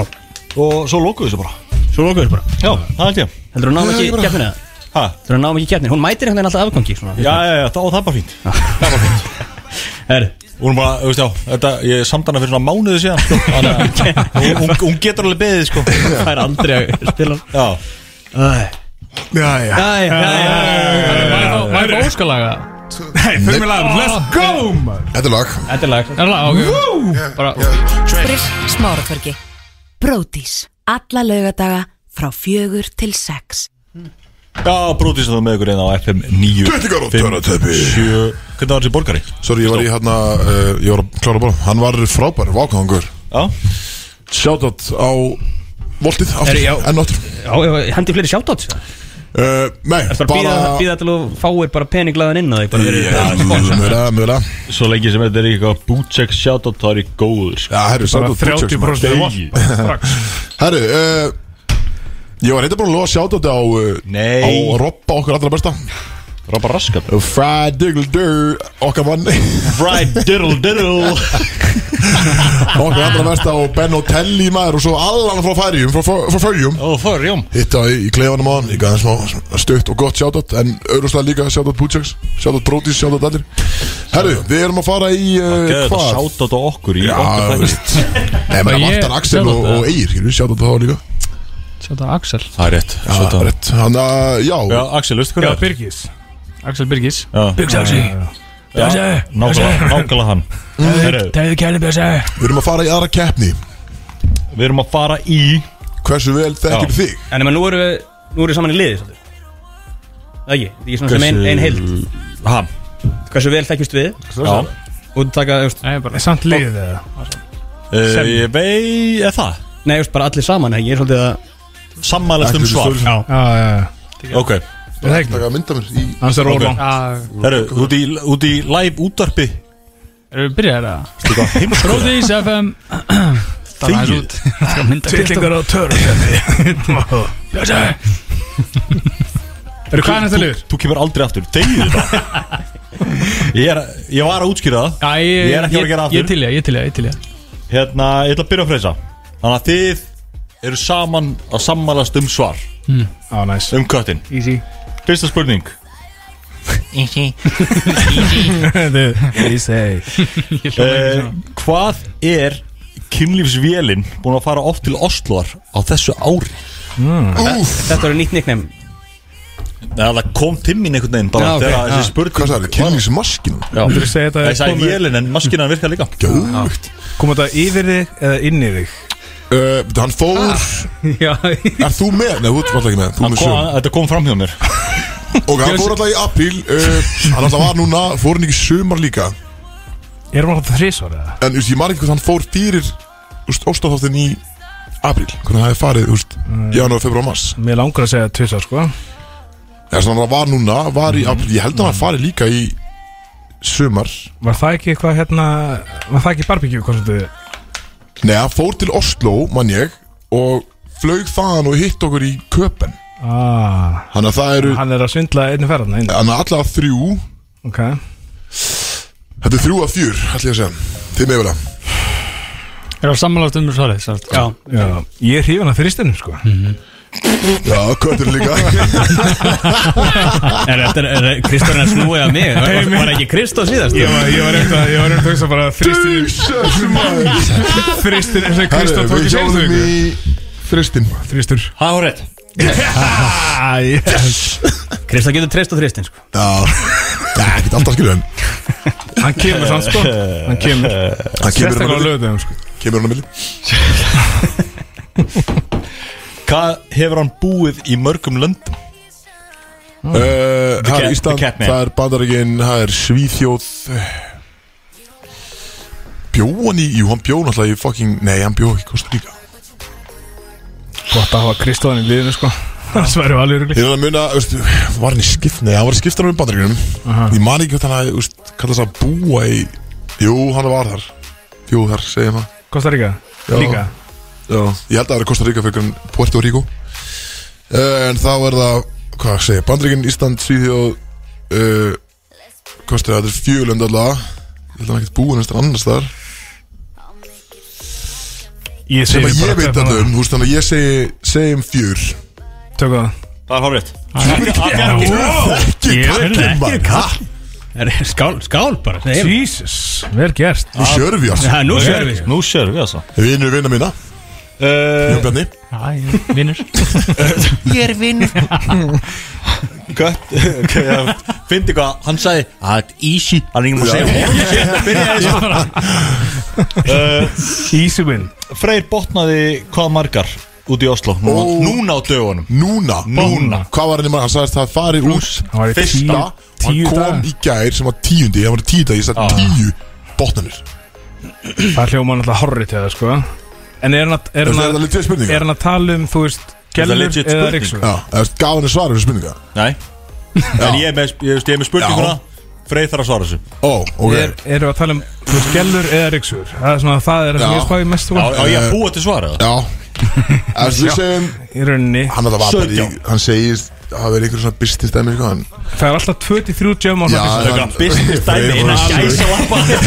Og svo lókuðu þessu bara Svo lokaður bara Já, það held ég Heldur hún náum ekki keppnina? Ha, Heldur hún náum ekki keppnina? Hún mætir einhvern veginn alltaf afgangi svona já, já, já, þá það er bara fínt Herri Hún er bara, þú veist, já, þetta, ég samtana fyrir svona mánuði síðan sko. Þannig að hún- hún- Hún getur alveg beðið, sko Það er aldrei að spila Já, Já, já maður er óskalaga Fyrir mig lag Let's go maður. Þetta er lag Þetta er lag Er það, ok Brís Smáratverki Brótis Alla laugadaga frá fjögur til sex já, brótið sem þú með ykkur einn á FM 9 Breytingar á törrateppi. 7 Hvernig var þessi borgari? Sorry, ég var í hérna uh, Ég var að klára bara Hann var frábær, vákangur Já, Shoutout á Voltið, aftur, Herri, já. enn aftur Já, já, hendi fleiri sjáttátt Það uh, Nei, er bara að bara býða til að fáir bara peninglaðan inn á þig bara fyrir- Já, Mjögulega, mjögulega svo lengi sem þetta er eitthvað Bútsek shoutout, það er góður sko. Já, herru, Bara shoutout Butchers, 30% maður. í vatn, bara strax. Herru, uh, ég var reynda bara að lofa sjátandi á uh, Nei. Á Robba, okkar allra besta Rabba raskat Fried Diggle Dur, okkar mann Fried diddle diddle Okkar allra besta og Ben Hotelli maður Og svo allan frá færjum, frá, frá, frá færjum Ó, það er jóm Hitta í, í klefanum á hann, ég gæði smá stutt og gott sjáttat En auðvitað líka sjáttat Butchers, sjáttat Brodís, sjáttat allir Herru, við erum að fara í uh, Gæði eh, þetta Hvað? shoutout á okkur í Já, okkar þú þætti. veist Nei, menn Ég- að vantan Axel sjáttat, og, og Eir, skilur, sjáttat þá líka Sjáta Axel Það er rétt Já, shoutout. rétt, hann að, já, Já, Axel, veistu Já, hvað það er? Birgis Axel Birgis Já, Bjöksaxi já, nákvæmlega nákvæmlega hann Herru, Tegðu kæli Bjöksaxi við erum að fara í aðra keppni Við erum að fara í Hversu vel þekkir Já. þig? En nema, nú eru við Nú eru við saman í liði svolítið Það ekki, þetta er ekki svona sem ein, Hversu- ein heild Ha, Hversu vel þekkjast við já Og taka, þú veist, Nei, bara Samt liðið eða Eh, Ég vei, eða það Nei, þú veist, bara allir saman ekki, Ég er svolítið að Sammælast um Axel svar Stoltenberg. Já, já, já Ok, Er Það ekki Takk að mynda mér í Hans er Ok. ólangt herru, út í, út í live útvarpi Erum við byrjaðið það? Veistu hvað heimskoða? Bróðis FM Það er Þegið. út Það er mynda Tvillingar á törn Bjöksaxi Eru hvað er næsta liður? Þú kemur aldrei aftur, degið þetta ég, er, ég var að útskýra það Já, ég, Ég er ekki að fara að gera Ég aftur. til ég, ég til ég, ég til ég Hérna, ég ætla að byrja að freysa Þannig að þið eru saman að sammálast um svar Á, næs um köttin Easy Fyrsta spurning eh, Hvað er kynlífsvélin búin að fara oft til Osloar á þessu ári? Þetta er nýtt nickname Nei, það kom til mín einhvern veginn bara Já, ok. þegar Já. þessi spurning Hvað sagði, kynlífsmaskinu? Þú veist segja Það þetta sagði vélin en maskinan virkar líka Gjöðugt Kom þetta yfir þig eða inn í þig uh, Hann fór Já Er þú með? Nei, þú ert alltaf ekki með Þú Hann með kom, sögum Þetta kom fram hjá mér Ok, hann fór alltaf í apríl uh, Hann alltaf var núna Fór hann ekki í sumar líka Erum við alltaf þrísvar eða? En þú veist, ég man ekki hvað hann fór fyrir Óstáþáttin í apríl Hvernig það hefði farið, þú veist Janúar, februar, mars Mér langar að segja tvisvar sko Eða svona hann var núna Var í apríl Ég held að hann farið líka í sumar Var það ekki eitthvað hérna Var það ekki barbecue konsertið? Nei, hann fór til Oslo, mann ég Og flög þaðan og hitt okkur í köpen Ah, Þannig að það eru hann er að svindla einu ferðarna inn Þannig að allavega þrjú Ok Þetta er þrjú af fjör, ætlum ég að segja Þið með vera Er það samanlátt um svarið sagt. Já, Já, ég er hrifin af þrýstinum sko Já, köttur líka er þetta Kristórin að snúið að mig? Var, var ekki Kristó síðast? Ég var, ég var eitthvað, ég var eitthvað að hugsa bara þrýstin Jesus, maður Þrýstin eins og Herru, Kristó tók við í hjálum sérstu í Fristin Þrýstur Há, rétt Krista getur treyst á þristin sko Já, það er ekkert alltaf skilur en Hann kemur sann sko Hann kemur Það kemur hann Sérstaklega á að milli lögðum sko Kemur hann að milli Hvað hefur hann búið í mörgum löndum? Uh, Það er Mm. cat- Ísland, the cat man. það er Bandaríkin, það er Svíþjóð Bjóðan í, jú, hann bjóð náttúrulega í fucking Nei, hann bjóð í Costa Rica Gott að hafa Kristóðan í liðinu sko Það væri alveg rugli Ég er að muna, veistu, var hann í skipt Nei, hann var í skiptar um bandaríkunum Ég man ekki hvað hann að, veist, kallast að búa í Jú, hann var þar Bjóð þar, segjum það Kosta Ríka Já. Líka Já, ég held að það er Costa Rica fyrir en Puerto Rico Eh, En þá er það, hvað segja, Bandaríkin, Ísland, Svíþjóð uh, Kosta, þetta er fjögulönd allavega Ég held að hann ekkert búin einhvers staðar annars þar Ég Sem segi að bara ég veit þetta þetta um, þú veist þannig að ég segi, segjum fjör Tökum það Það er hár rétt Ekki kallum bara, Skál, skál bara Nei, Jesus Vel gert nú sjörum við alls ha, Nú sér við Nú sérum við þessa Vinur vinna mína, Eh, Jón Bjarni Æ, vinnur Gött Fyndi hvað, hann sagði That easy Hann er ingen að Já. segja Easy win Freyr botnaði hvað margar út í Oslo Núna, Ó. núna á dögunum Núna, Núna. Hvað var hann í maður? Hann sagðist það fari út Hann var í Fyrsta tíu- Hann tíu kom daga. Ah. í gær sem var tíundi Ég var í tíu dag, ég sagði tíu botnanir Það hljóma hann alltaf horrið til það sko En er hann að Er Er hann þetta að, litið tveir er spurningar? hann að tala um Þú veist Þetta er Gellur legit eða spurning. Ríksu Já, eða gaf hann svar fyrir spurningar Nei En ég er með, ég, ég er með spurninguna Freyr þarf að svara þessu Ó, ok er, Erum við að tala um Þú veist gellur eða Ríksur Það er svona Það er það sem Já. ég spáði mest um. úr Já, Eh, já, ég að búa til svara það Já Eða við segjum Í rauninni Hann að það var bara í 17. Hann segist að Það verið einhver svona business dæmi sko hann Það er alltaf 23 jam á Já, Ríksu hann- eitthvað business dæmi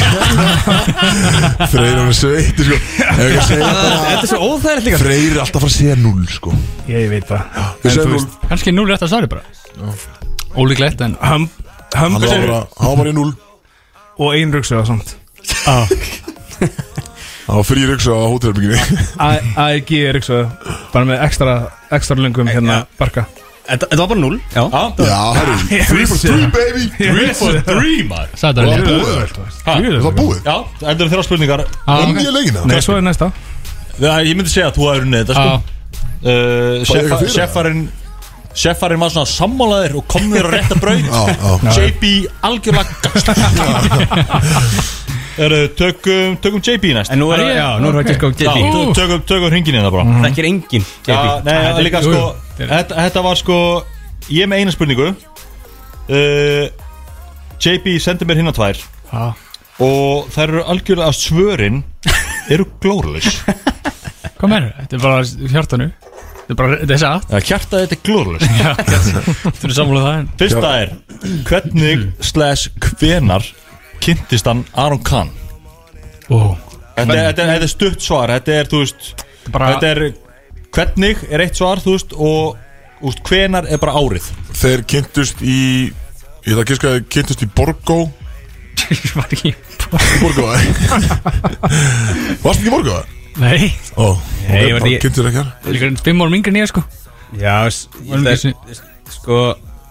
Freyr innan var sveittur, Freyr var gæsa sveitt sko Ef ég segja bara Þetta er svo óþægilegt líka Freyr er alltaf að fara að segja null sko Ég veit það Við þú segjum null veist- Kanski núl rétt að svarið bara Ólíklegt en Hum- Hann Humble var bara Hann var í null og ein Ríksu eða samt Hann var fyrir ykkur á hótelherbygginni AEG Ríksu Bara með ekstra Ekstra lungum hérna Barka Þetta þetta var bara 0 Já Já, herru Three for three baby Three for three, maður Sæði Og það það rétt búið Það Það var búið Já, endur þeirra spurningar Ah, Um ok. ég leikina Og svo er næsta Það- Ég myndi segja að þú hefur unnið þetta sko Já, Uh, Bara Sjeffa- eitthvað fyrir Sjeffarinn Sjeffarinn var svona sammálaðir og kom þér á rétta braut Já, já JB algjörlega gast Eru, tökum, tökum JB næst En nú Mhm. er Ah, Já, nú er það ekki sko Já, JP tö- tökum, tökum hringin hérna bara Það ekki er engin Já, JP nei, þetta, líka jú, sko jú, þetta, þetta var sko Ég er með eina spurningu uh, JB sendi mér hérna tvær Já. Og þær eru algjörlega að svörin Eru glórlaus hvað mennur? Þetta er bara hjartanu Þetta er bara, þetta er satt Hjartaði þetta er glórlaus Þú eru samfóluð um það en Fyrsta er Hvernig slash hvenar kynntist hann Aron Khan Ó, Þetta, þetta, þetta er stutt svar Þetta er, þú veist bara Þetta er Hvernig er eitt svar, þú veist Og, þú veist, hvenar er bara árið Þeir kynntust í Ég ætla að gíska að þeir kynntust í Borgó Ég var ekki Borgó Varst ekki í Borgó? Nei Ó, Nei, ég var ekki- kynntur ekki hérna. hér Líka enn fimm árum yngri en ég sko Já, s- Varum það- ekki sko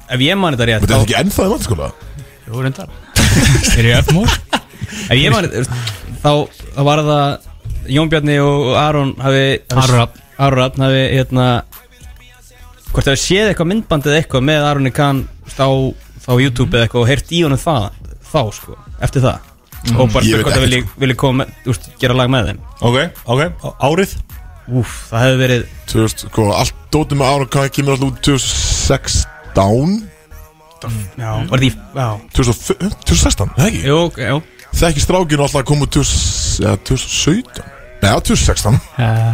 Ef ég man þetta rétt Þetta þá- er ekki ennþá í mannskóla Jú, reyndar Er ég öfnmór? Ef ég man Þá var það Jón Bjarni og Aron hafi Aron Rafn. Aron Rafn hafi hérna Hvort hafi séð eitthvað myndband eða eitthvað með Aronni Kahn þú veist, á, á YouTube eða eitthvað og heyrt í honum það þá sko, eftir það og Mm. Ég veit bara spyr hvort ekkert, það sko. vilji, vilji koma með, úst, gera lag með þeim Ok, ok, á- árið Úf, það hefði verið Þú veist, sko, allt dótið með Aron Kahn kemur alltaf út 2016 já, var því, já, 2005 2016, það ekki? jú, ok, jú Það ekki strákinu alltaf að koma út 2000 eða 2017 Nei, já, 2016 Eh,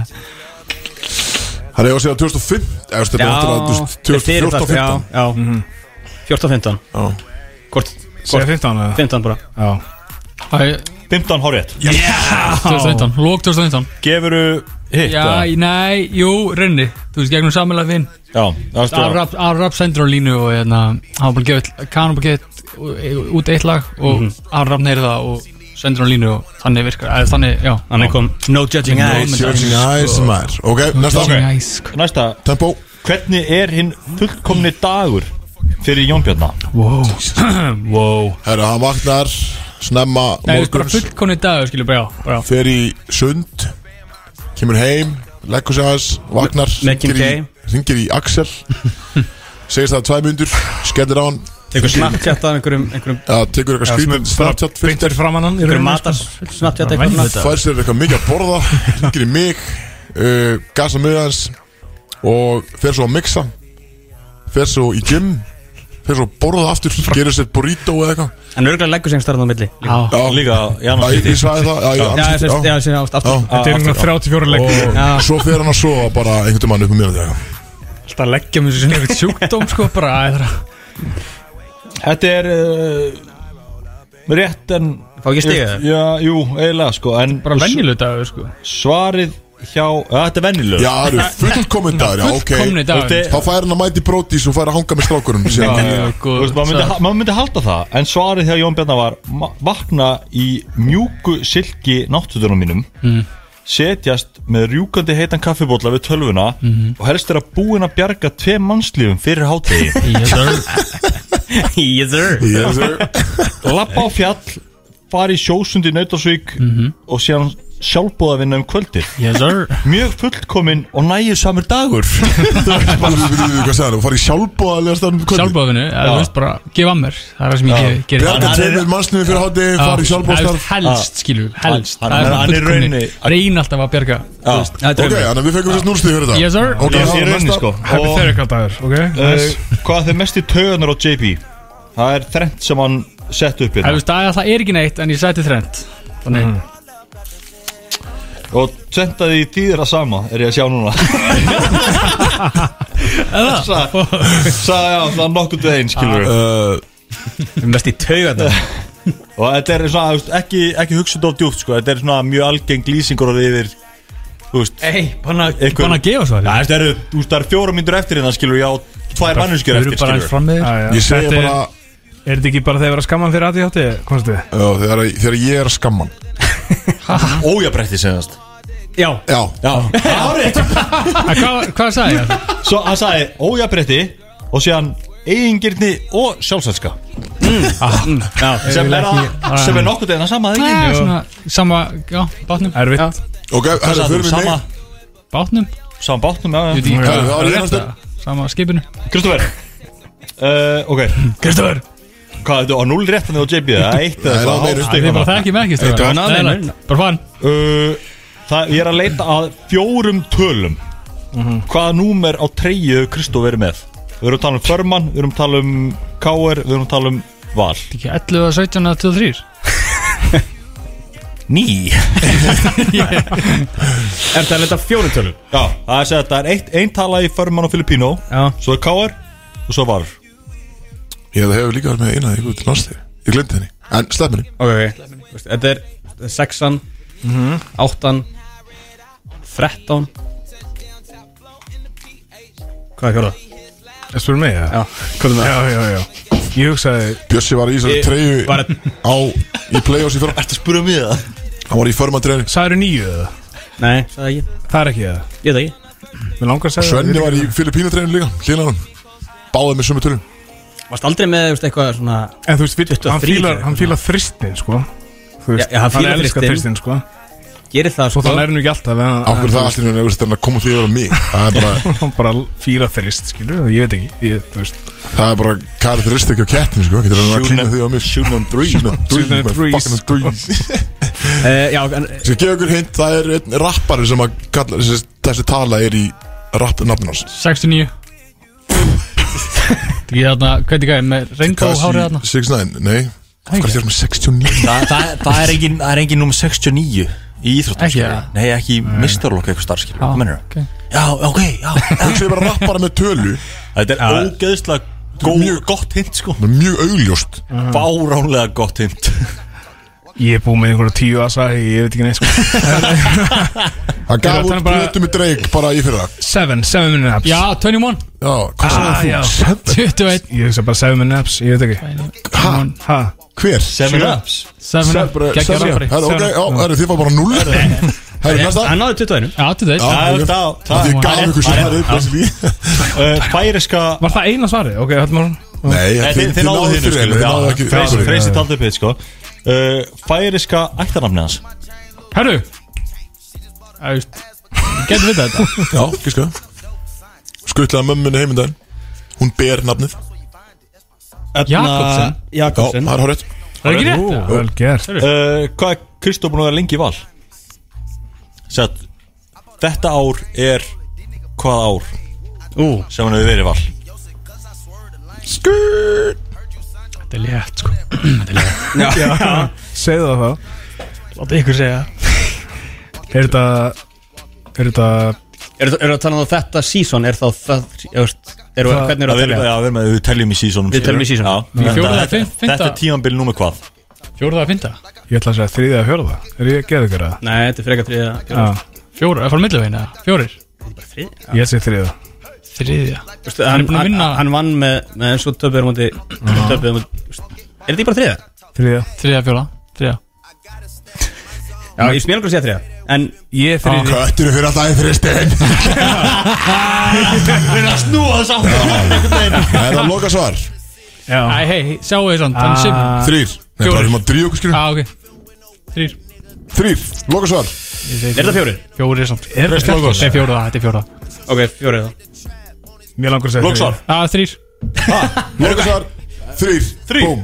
Það er ég að segja 2005 eða, þú veist, Þetta er náttúrulega þeir fyrir það, 2014-15 já, já, 14-15 hvort, Segja hvort, 15 eða? 15 bara Já 15 hárið 2019 Lók 2019 Gefuru hitt Já, eða? í- nei, jú, reynni Þú veist, gegnum sammelega vinn já það stóra Arab sendur á línu og hérna hann var bara gefið, Kanan bara gefið út eitt lag og mm -hmm. Arab neyri það og sendur á línu og þannig virkar eða þannig, já Þannig kom No Judging Eyes Judging Eyes maður Ok, næsta Judging Eyes, sko. Næsta, Tempo hvernig er hinn fullkomni dagur fyrir Jón Bjarnar? Wow Wow Herra, hann vaknar Snemma Nei, þú veist, bara morguns fullkonni dag, skilju, bara já, bara já Fer í sund Kemur heim Leggur sig aðeins Vaknar Með Kim hringir í- Hringir í Axel Segist það tvær myndur Skellir á hann Tekur snapchat af einhverjum einhverjum Já, tekur eitthvað skrýtin Snapchat Beintir framann hann í einhverjum rauninni, sko. matar Snapchat Bara eitthvað væntu svona. þetta. Fær sér eitthvað mikið að borða Hringir í mig uh, Gasa með hans Og fer svo að mixa Fer svo í gym Fer svo að borða aftur Gerir sér burrito eða eitthvað En örgulega leggur sem starfðan á milli Já, Já, Líka, já, Já, ég, ég sagði það Já, Já, já, sem sagt, já, já, sem sagt, aftur Þetta er einhverjum 34 leik Og svo fer hann að sofa bara einhvern mann upp um mér Já, alltaf að leggja mér þessu nefnir sjúkdóm, sko, bara æ, það er að- Þetta er uh, rétt en Fá ekki stigið Já, jú, eiginlega sko en bara venjulegu dagur, sko Svarið hjá, ja, þetta er venjuleg það eru fullkominn dagur Já, ok Fullkomni dagur Þú veist, Þá fær hann að mæti brótis og fær að hanga með strákurum síðan. sko, Þú veist, maður myndi, maður myndi halda það En svarið hjá Jón Bjarnar var ma- Vakna í mjúku silki náttutunum mínum Mm. Setjast með rjúkandi heitan kaffibólla við tölvuna Mhm. Og helst er að búin að bjarga Tve mannslífum fyrir hátegi Either Yes, sir. Lappa á fjall Fara í sjósund í Nautasvík Og síðan sjálfbóða vinna um kvöldið Mhm. Yes, sir Mjög fullkominn og nægjusamur dagur Þú veitir hvað sagði hann, fara í um sjálfbóðalega stafnum Sjálfbóðinu, eða þú veist, bara gefa mér Það er það sem ég ge- Bjarga gerir tveimur mannsnum fyrir hátti Fara í sjálfbóðstarf Helst, skilju, helst Hann- Það er hann- hann er fullkomni. rauninni- Reyn alltaf að bjarga Ok, þannig að við fengum þess núlstíð fyrir það Yes, sir. Ok, Ég þá sé er rauninni næsta sko Og Hypothetical dagur, ok? uh, Nice. hvað þeir mest í tauganar á JP Það er þrennt sem hann sett upp Það, hérna veist, það, það er ekki neitt en ég sæti þrend Þannig Og tvendaði í þýðra sama Er ég að sjá núna Sæði já, svona nokkurt við einn skilur Uh, Mest í taugarna Og þetta er svona, þú veist, ekki, ekki hugsað á djúpt sko Þetta er svona mjög algeng lýsingur orðið yfir Þú veist, Ei, banna Einhver- banna að gefa svo ja, þetta eru, þú veist, það eru fjóra mínútur eftir hérna skilur Já, tvær mannskjör eftir bara eins skilur fram með þér Já, já. Ég segja Þetta er- bara Er þetta ekki bara þegar að vera skamman fyrir aðið hjátti? Konstið? já, Þegar þegar ég er að skamman Ójabretti senast Já, Já, árið En Hvað, hvað sagði ég? Svo hann sagði ójabretti Og síðan eigingirni og sjálfsælska Mm. Ah. sem er, að, sem er nokkuð eða sama það Nei, ekki svona, sama, já, bátnum Erfitt ok, herra, Sama- fyrir mig sama, Bátnum, sama bátnum já, ég já. veit ekki Herra, þá er ég næsta Sama skipinu Kristoffer uh, ok, Kristofur hvað þetta á 0 réttan og JB eða eitt Nei, eða það er Við bara eitthvað þekki með ekki Eitt og strákar. annað, Nei, nei, nei, Bara fann Uh, það ég er að leita að fjórum tölum Mhm. hvaða númer á treyju Kristoffer er með við erum að tala um förmann, við erum að tala um káer, við erum að tala um val Ekki 11, 17, 23 ný Er þetta þetta fjóru tölum? já, það er að segja að það er eitt, ein tala í förmann og Filipino Já. svo er káer og svo var Ég hefði líka verið með eina í gull landstíð Ég glemdi henni, en slepp henni Ok, ok Þú veist, Þetta er þetta er Mhm. sexan Áttan Þrettán Hvað er fjórða? Það spurði mig það? Já, hvað er það? Já, já, já Ég hugsaði Bjössi var í þessari treyju var- á í playoffs í fyrra Ertu að spura mig það? hann var í förmatreyju Særu nýju eða? Nei, sagði ekki Það er ekki það Ég veit það ekki Mér langar að segja Svenni var í Filipínatreyju líka hlilanum báðið með sumu tölum Varst aldrei með veist, eitthvað svona En þú veist, við, 23 hann fílar, eða hann fílar þristin sko Þú Já, já, hann fílar elskar þristinn. þristin sko Gerir það Svo sko það lærir nú ekki alltaf en- af hverju það allt í rauninu er að koma því yfir á mig það er bara, Hann bara fílar þrist, skilur Ég veit ekki Ég, þú veist það er bara karakteristik á kettin sko getur hann að klína því á mig Shooting on three Shooting on threes, Shooting on my threes. fucking threes. Eh, Já, en Skal gefa ykkur hint, það er einn rappari sem að kalla, þessi, þessi tala er í rappnafnum hans 69 Ég þarna, hvernig gæði, með reynda og hárið þarna 69, nei Hvað er þér með 69? Þa, það, það er engin, það er engin nummer 69 í íþróttum Ekki, skilur. ja. Nei, ekki í mistarlokk eitthvað starf skilur Hvað mennur það? ok. Já, ok, já Hún segir bara rappara með tölu Þetta er ógeðslega góð, gott hint sko Það er mjög augljóst Báránlega gott hint Ég er búið með einhverja tíu asa Ég veit ekki neitt sko Hann gaf Þetta er út bara- plötu með Drake bara í fyrra Já, Seven, seven minute naps Já, 21 hvað sagði já. þú? Seven? 21 Ég hugsa bara seven minute naps Ég veit ekki Ha? Ha? Hver? Seven ups 7 Seven, bara- Gekkja seven. rafari Herra, ok, já, herra, þið var bara null Herra, næsta hann náði 21 Já, Já, 21 ok. Það er það, Af Því ég gaf það ykkur sem það er upplýst er Færiska Var það eina svarið? Ok, höllum árum Nei, þið þið náðu þínu, þér skilur. Þið Já, náðu ekki Freysi- Sorry. Freysi taldi upp hitt sko Uh, Færiska ættarnafni hans Herru Það veist Getur við þetta Já, gíska Skuttlaði mömmunni heimindaginn Hún ber nafnið Já, Jakobsen það er horrið Það er ekki rétt Vel gert uh, Hvað er Kristó búin að vera lengi í val? Sett Þetta ár er Hvað ár? Ú. Sem hann hefur verið í val Þetta er létt sko Segðu það þá Láta ykkur segja Er þetta Er þetta Er það að tala um þetta season Er þá það ég veist, er, Það- Hvernig eru Það að er, telja? já, við, með, við teljum í sísónum Við teljum í seasonum. já, Í fjórða, þetta, fimm- fimmta. þetta er tímanbil númer hvað Fjóruða að fynda Ég ætla að segja þriðið að hörða Er ég að geða ykkur það? Nei, þetta er frekar þriða Já Fjóruða, það fór milluvegin eða? Fjórir Ég segi þriða Þriðja Vistu, hann, búinn að hann, vinna. hann vann með, með eins og töpuður múti töpuður múti er þetta ekki bara þriða? Þriða Þriðja fjóruða Þriðja Já, ég smíðan okkur að segja þriða en Ég er þriði Köttur fyrir alltaf í þristin Við erum að snúa þess átt Það er að loka svar Æ, Já hei, hei, sjáu þið samt Þannig sem Ah, Þrýr Nei, bara Fjórir. erum að dríu okkur skilur Já, ok Þrýr Þrýr, loka svar er þetta fjórið? Fjórið samt sko. Er þetta Þetta er fjóruða, þetta er fjóruða ok, fjórið þá Mér langar að segja Lóksvar Já, þrýr Loka svar Þrýr Þrír. Búm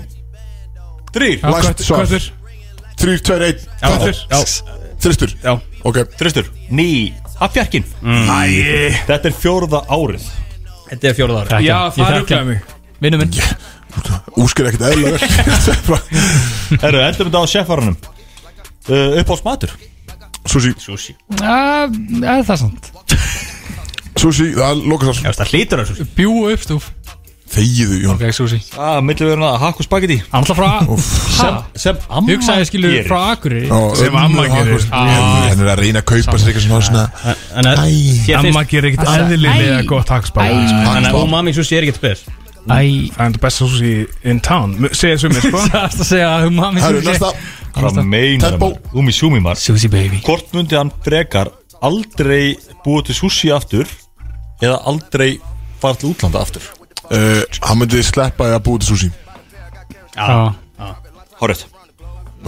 Þrýr Læst svar. Hvað er Þrýr, tveir, einn Þrýr já, Þristur já Ok Þristur Ný Af fjarkinn Æ Þetta er fjórða árið þetta er fjórið ára Þekki Já, hann, ég það þekki rugglaði hann. mig Vinnu minn Úskir ekkert eðla vel Herru, endur þetta á sefvaranum uh, Uppáls matur Sushi sushi já, Já, Ah, er það samt Sushi, það er loka svar veist, það hlýtur að sushi Bjú og uppstúf Þegiðu, Jón Ok, sushi Það, ah, millir við hérna Hakk og spagetti Hann ætla frá Sem amma Hugsaði skilur gerir. frá Akureyri Sem amma gerir. Hann er að reyna að kaupa sér eitthvað svona svona þannig að Æ. þér Amma finnst gerir ekkert eðlilega gott hagsbáð Það þannig að Hakkspá. umami sushi er ekkert spes Æ er enda besta súsi in town Mu- Segja sumir sko Það er að segja að um mami Herru, næsta Hvað meinar Tempo. maður? Umi sjúmi maður Sushi baby Hvort myndi hann frekar aldrei búa til sushi aftur Eða aldrei fara til útlanda aftur Uh, Hann myndi sleppa því að búa til sushi Já Hárið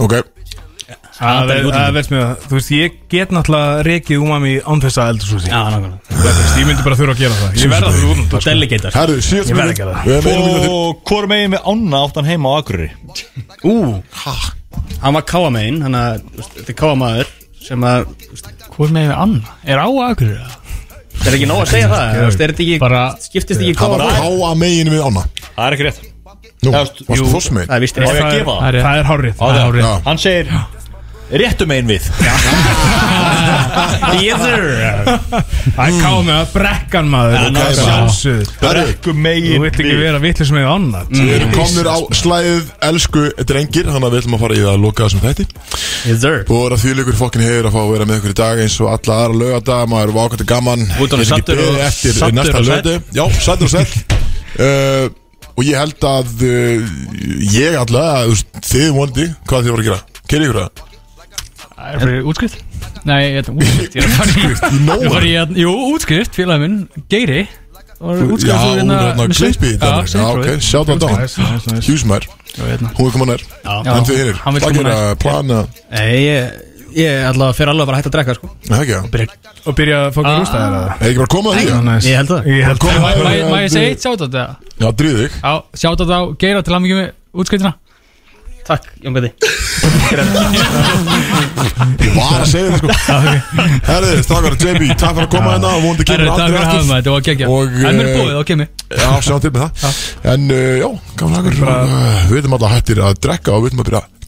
Ok Það er það er verðst með það Þú veist, ég get náttúrulega rekið umami án þess að eldur súsi já, nákvæmlega Ég myndi bara þurfa að gera það Ég verða að þurfa þú delegatar Herru, síðast Ég verð ekki að það. Við erum einu mínútu til. Og hvort megin við ána átt hann heima á Akureyri hann var káamein hann að þú veist, þetta er káamaður sem að þú veist, Hvor með við Anna? Er á Akureyri? eða? er ekki nóg að segja það þú veist, er þetta ekki Bara- skiptist ekki Hann var káamaður háa megin við ána Það er ekki rétt Nú, Já, varstu þoss það megin er vist Á ég að er- gefa það það er- Það er hárrið Á, það er Já. Hann segir réttum einn við Either Mm. Það káði með að brekkan maður Ok, bara. Sjálfsögð Herru, Réttum Þú einn vilt ekki vera vitlis með annar Við erum komnir á slæðið elsku drengir Þannig að við ætlum að fara í það að loka þessum þætti Either Og að þvílegur fokkin hefur að fá að vera með ykkur í dag eins og alla aðra lögadaga, maður var ákvæmt gaman Út honum Get ekki saddur og- beðið eftir saddur næsta og lögadu Já, sattur og sett uh, Og ég held að uh, ég alla, þú veist, þið vondi, hvað þið voru að gera? Kerið ykkur það? Það er fyrir útskrift Nei, ég er útskrift Ég er að fara í- Útskrift, í Ég var nóa í að, jú, útskrift, félagi minn, Geiri var útskrift Já, úr hún hérna- er hérna með klippi í Sif- dag Já, Já, ok, sjátt á dán Hjúsmær, hún er komin nær En þið hinir, hérna. hann vill hvað koma gera, plana Nei, ég, ég ætla að fyrir alveg bara að hætta að drekka sko Nei, ekki það Og byrja að Ah. fokka rústa þér að Er ekki bara að koma að því? eða? það Ég held það Ég held Koma það að því, Má eða ég segja eitt sjátt á þetta? Já, drýðu þig Já, sjátt á þetta á Geira til að mikið með útskriftina Takk, Jón Gati Ég var að segja það sko Herðið, strákar, JB, takk fyrir að koma hérna og vonandi Það er kemur þetta aldrei að hafa aftur með þetta og að gegja Og, En mér er eh, búið, þá kemur Já, eh, sjá til með það En uh, já, gamla akkur Við veitum alltaf hættir að drekka og við veitum að byrja að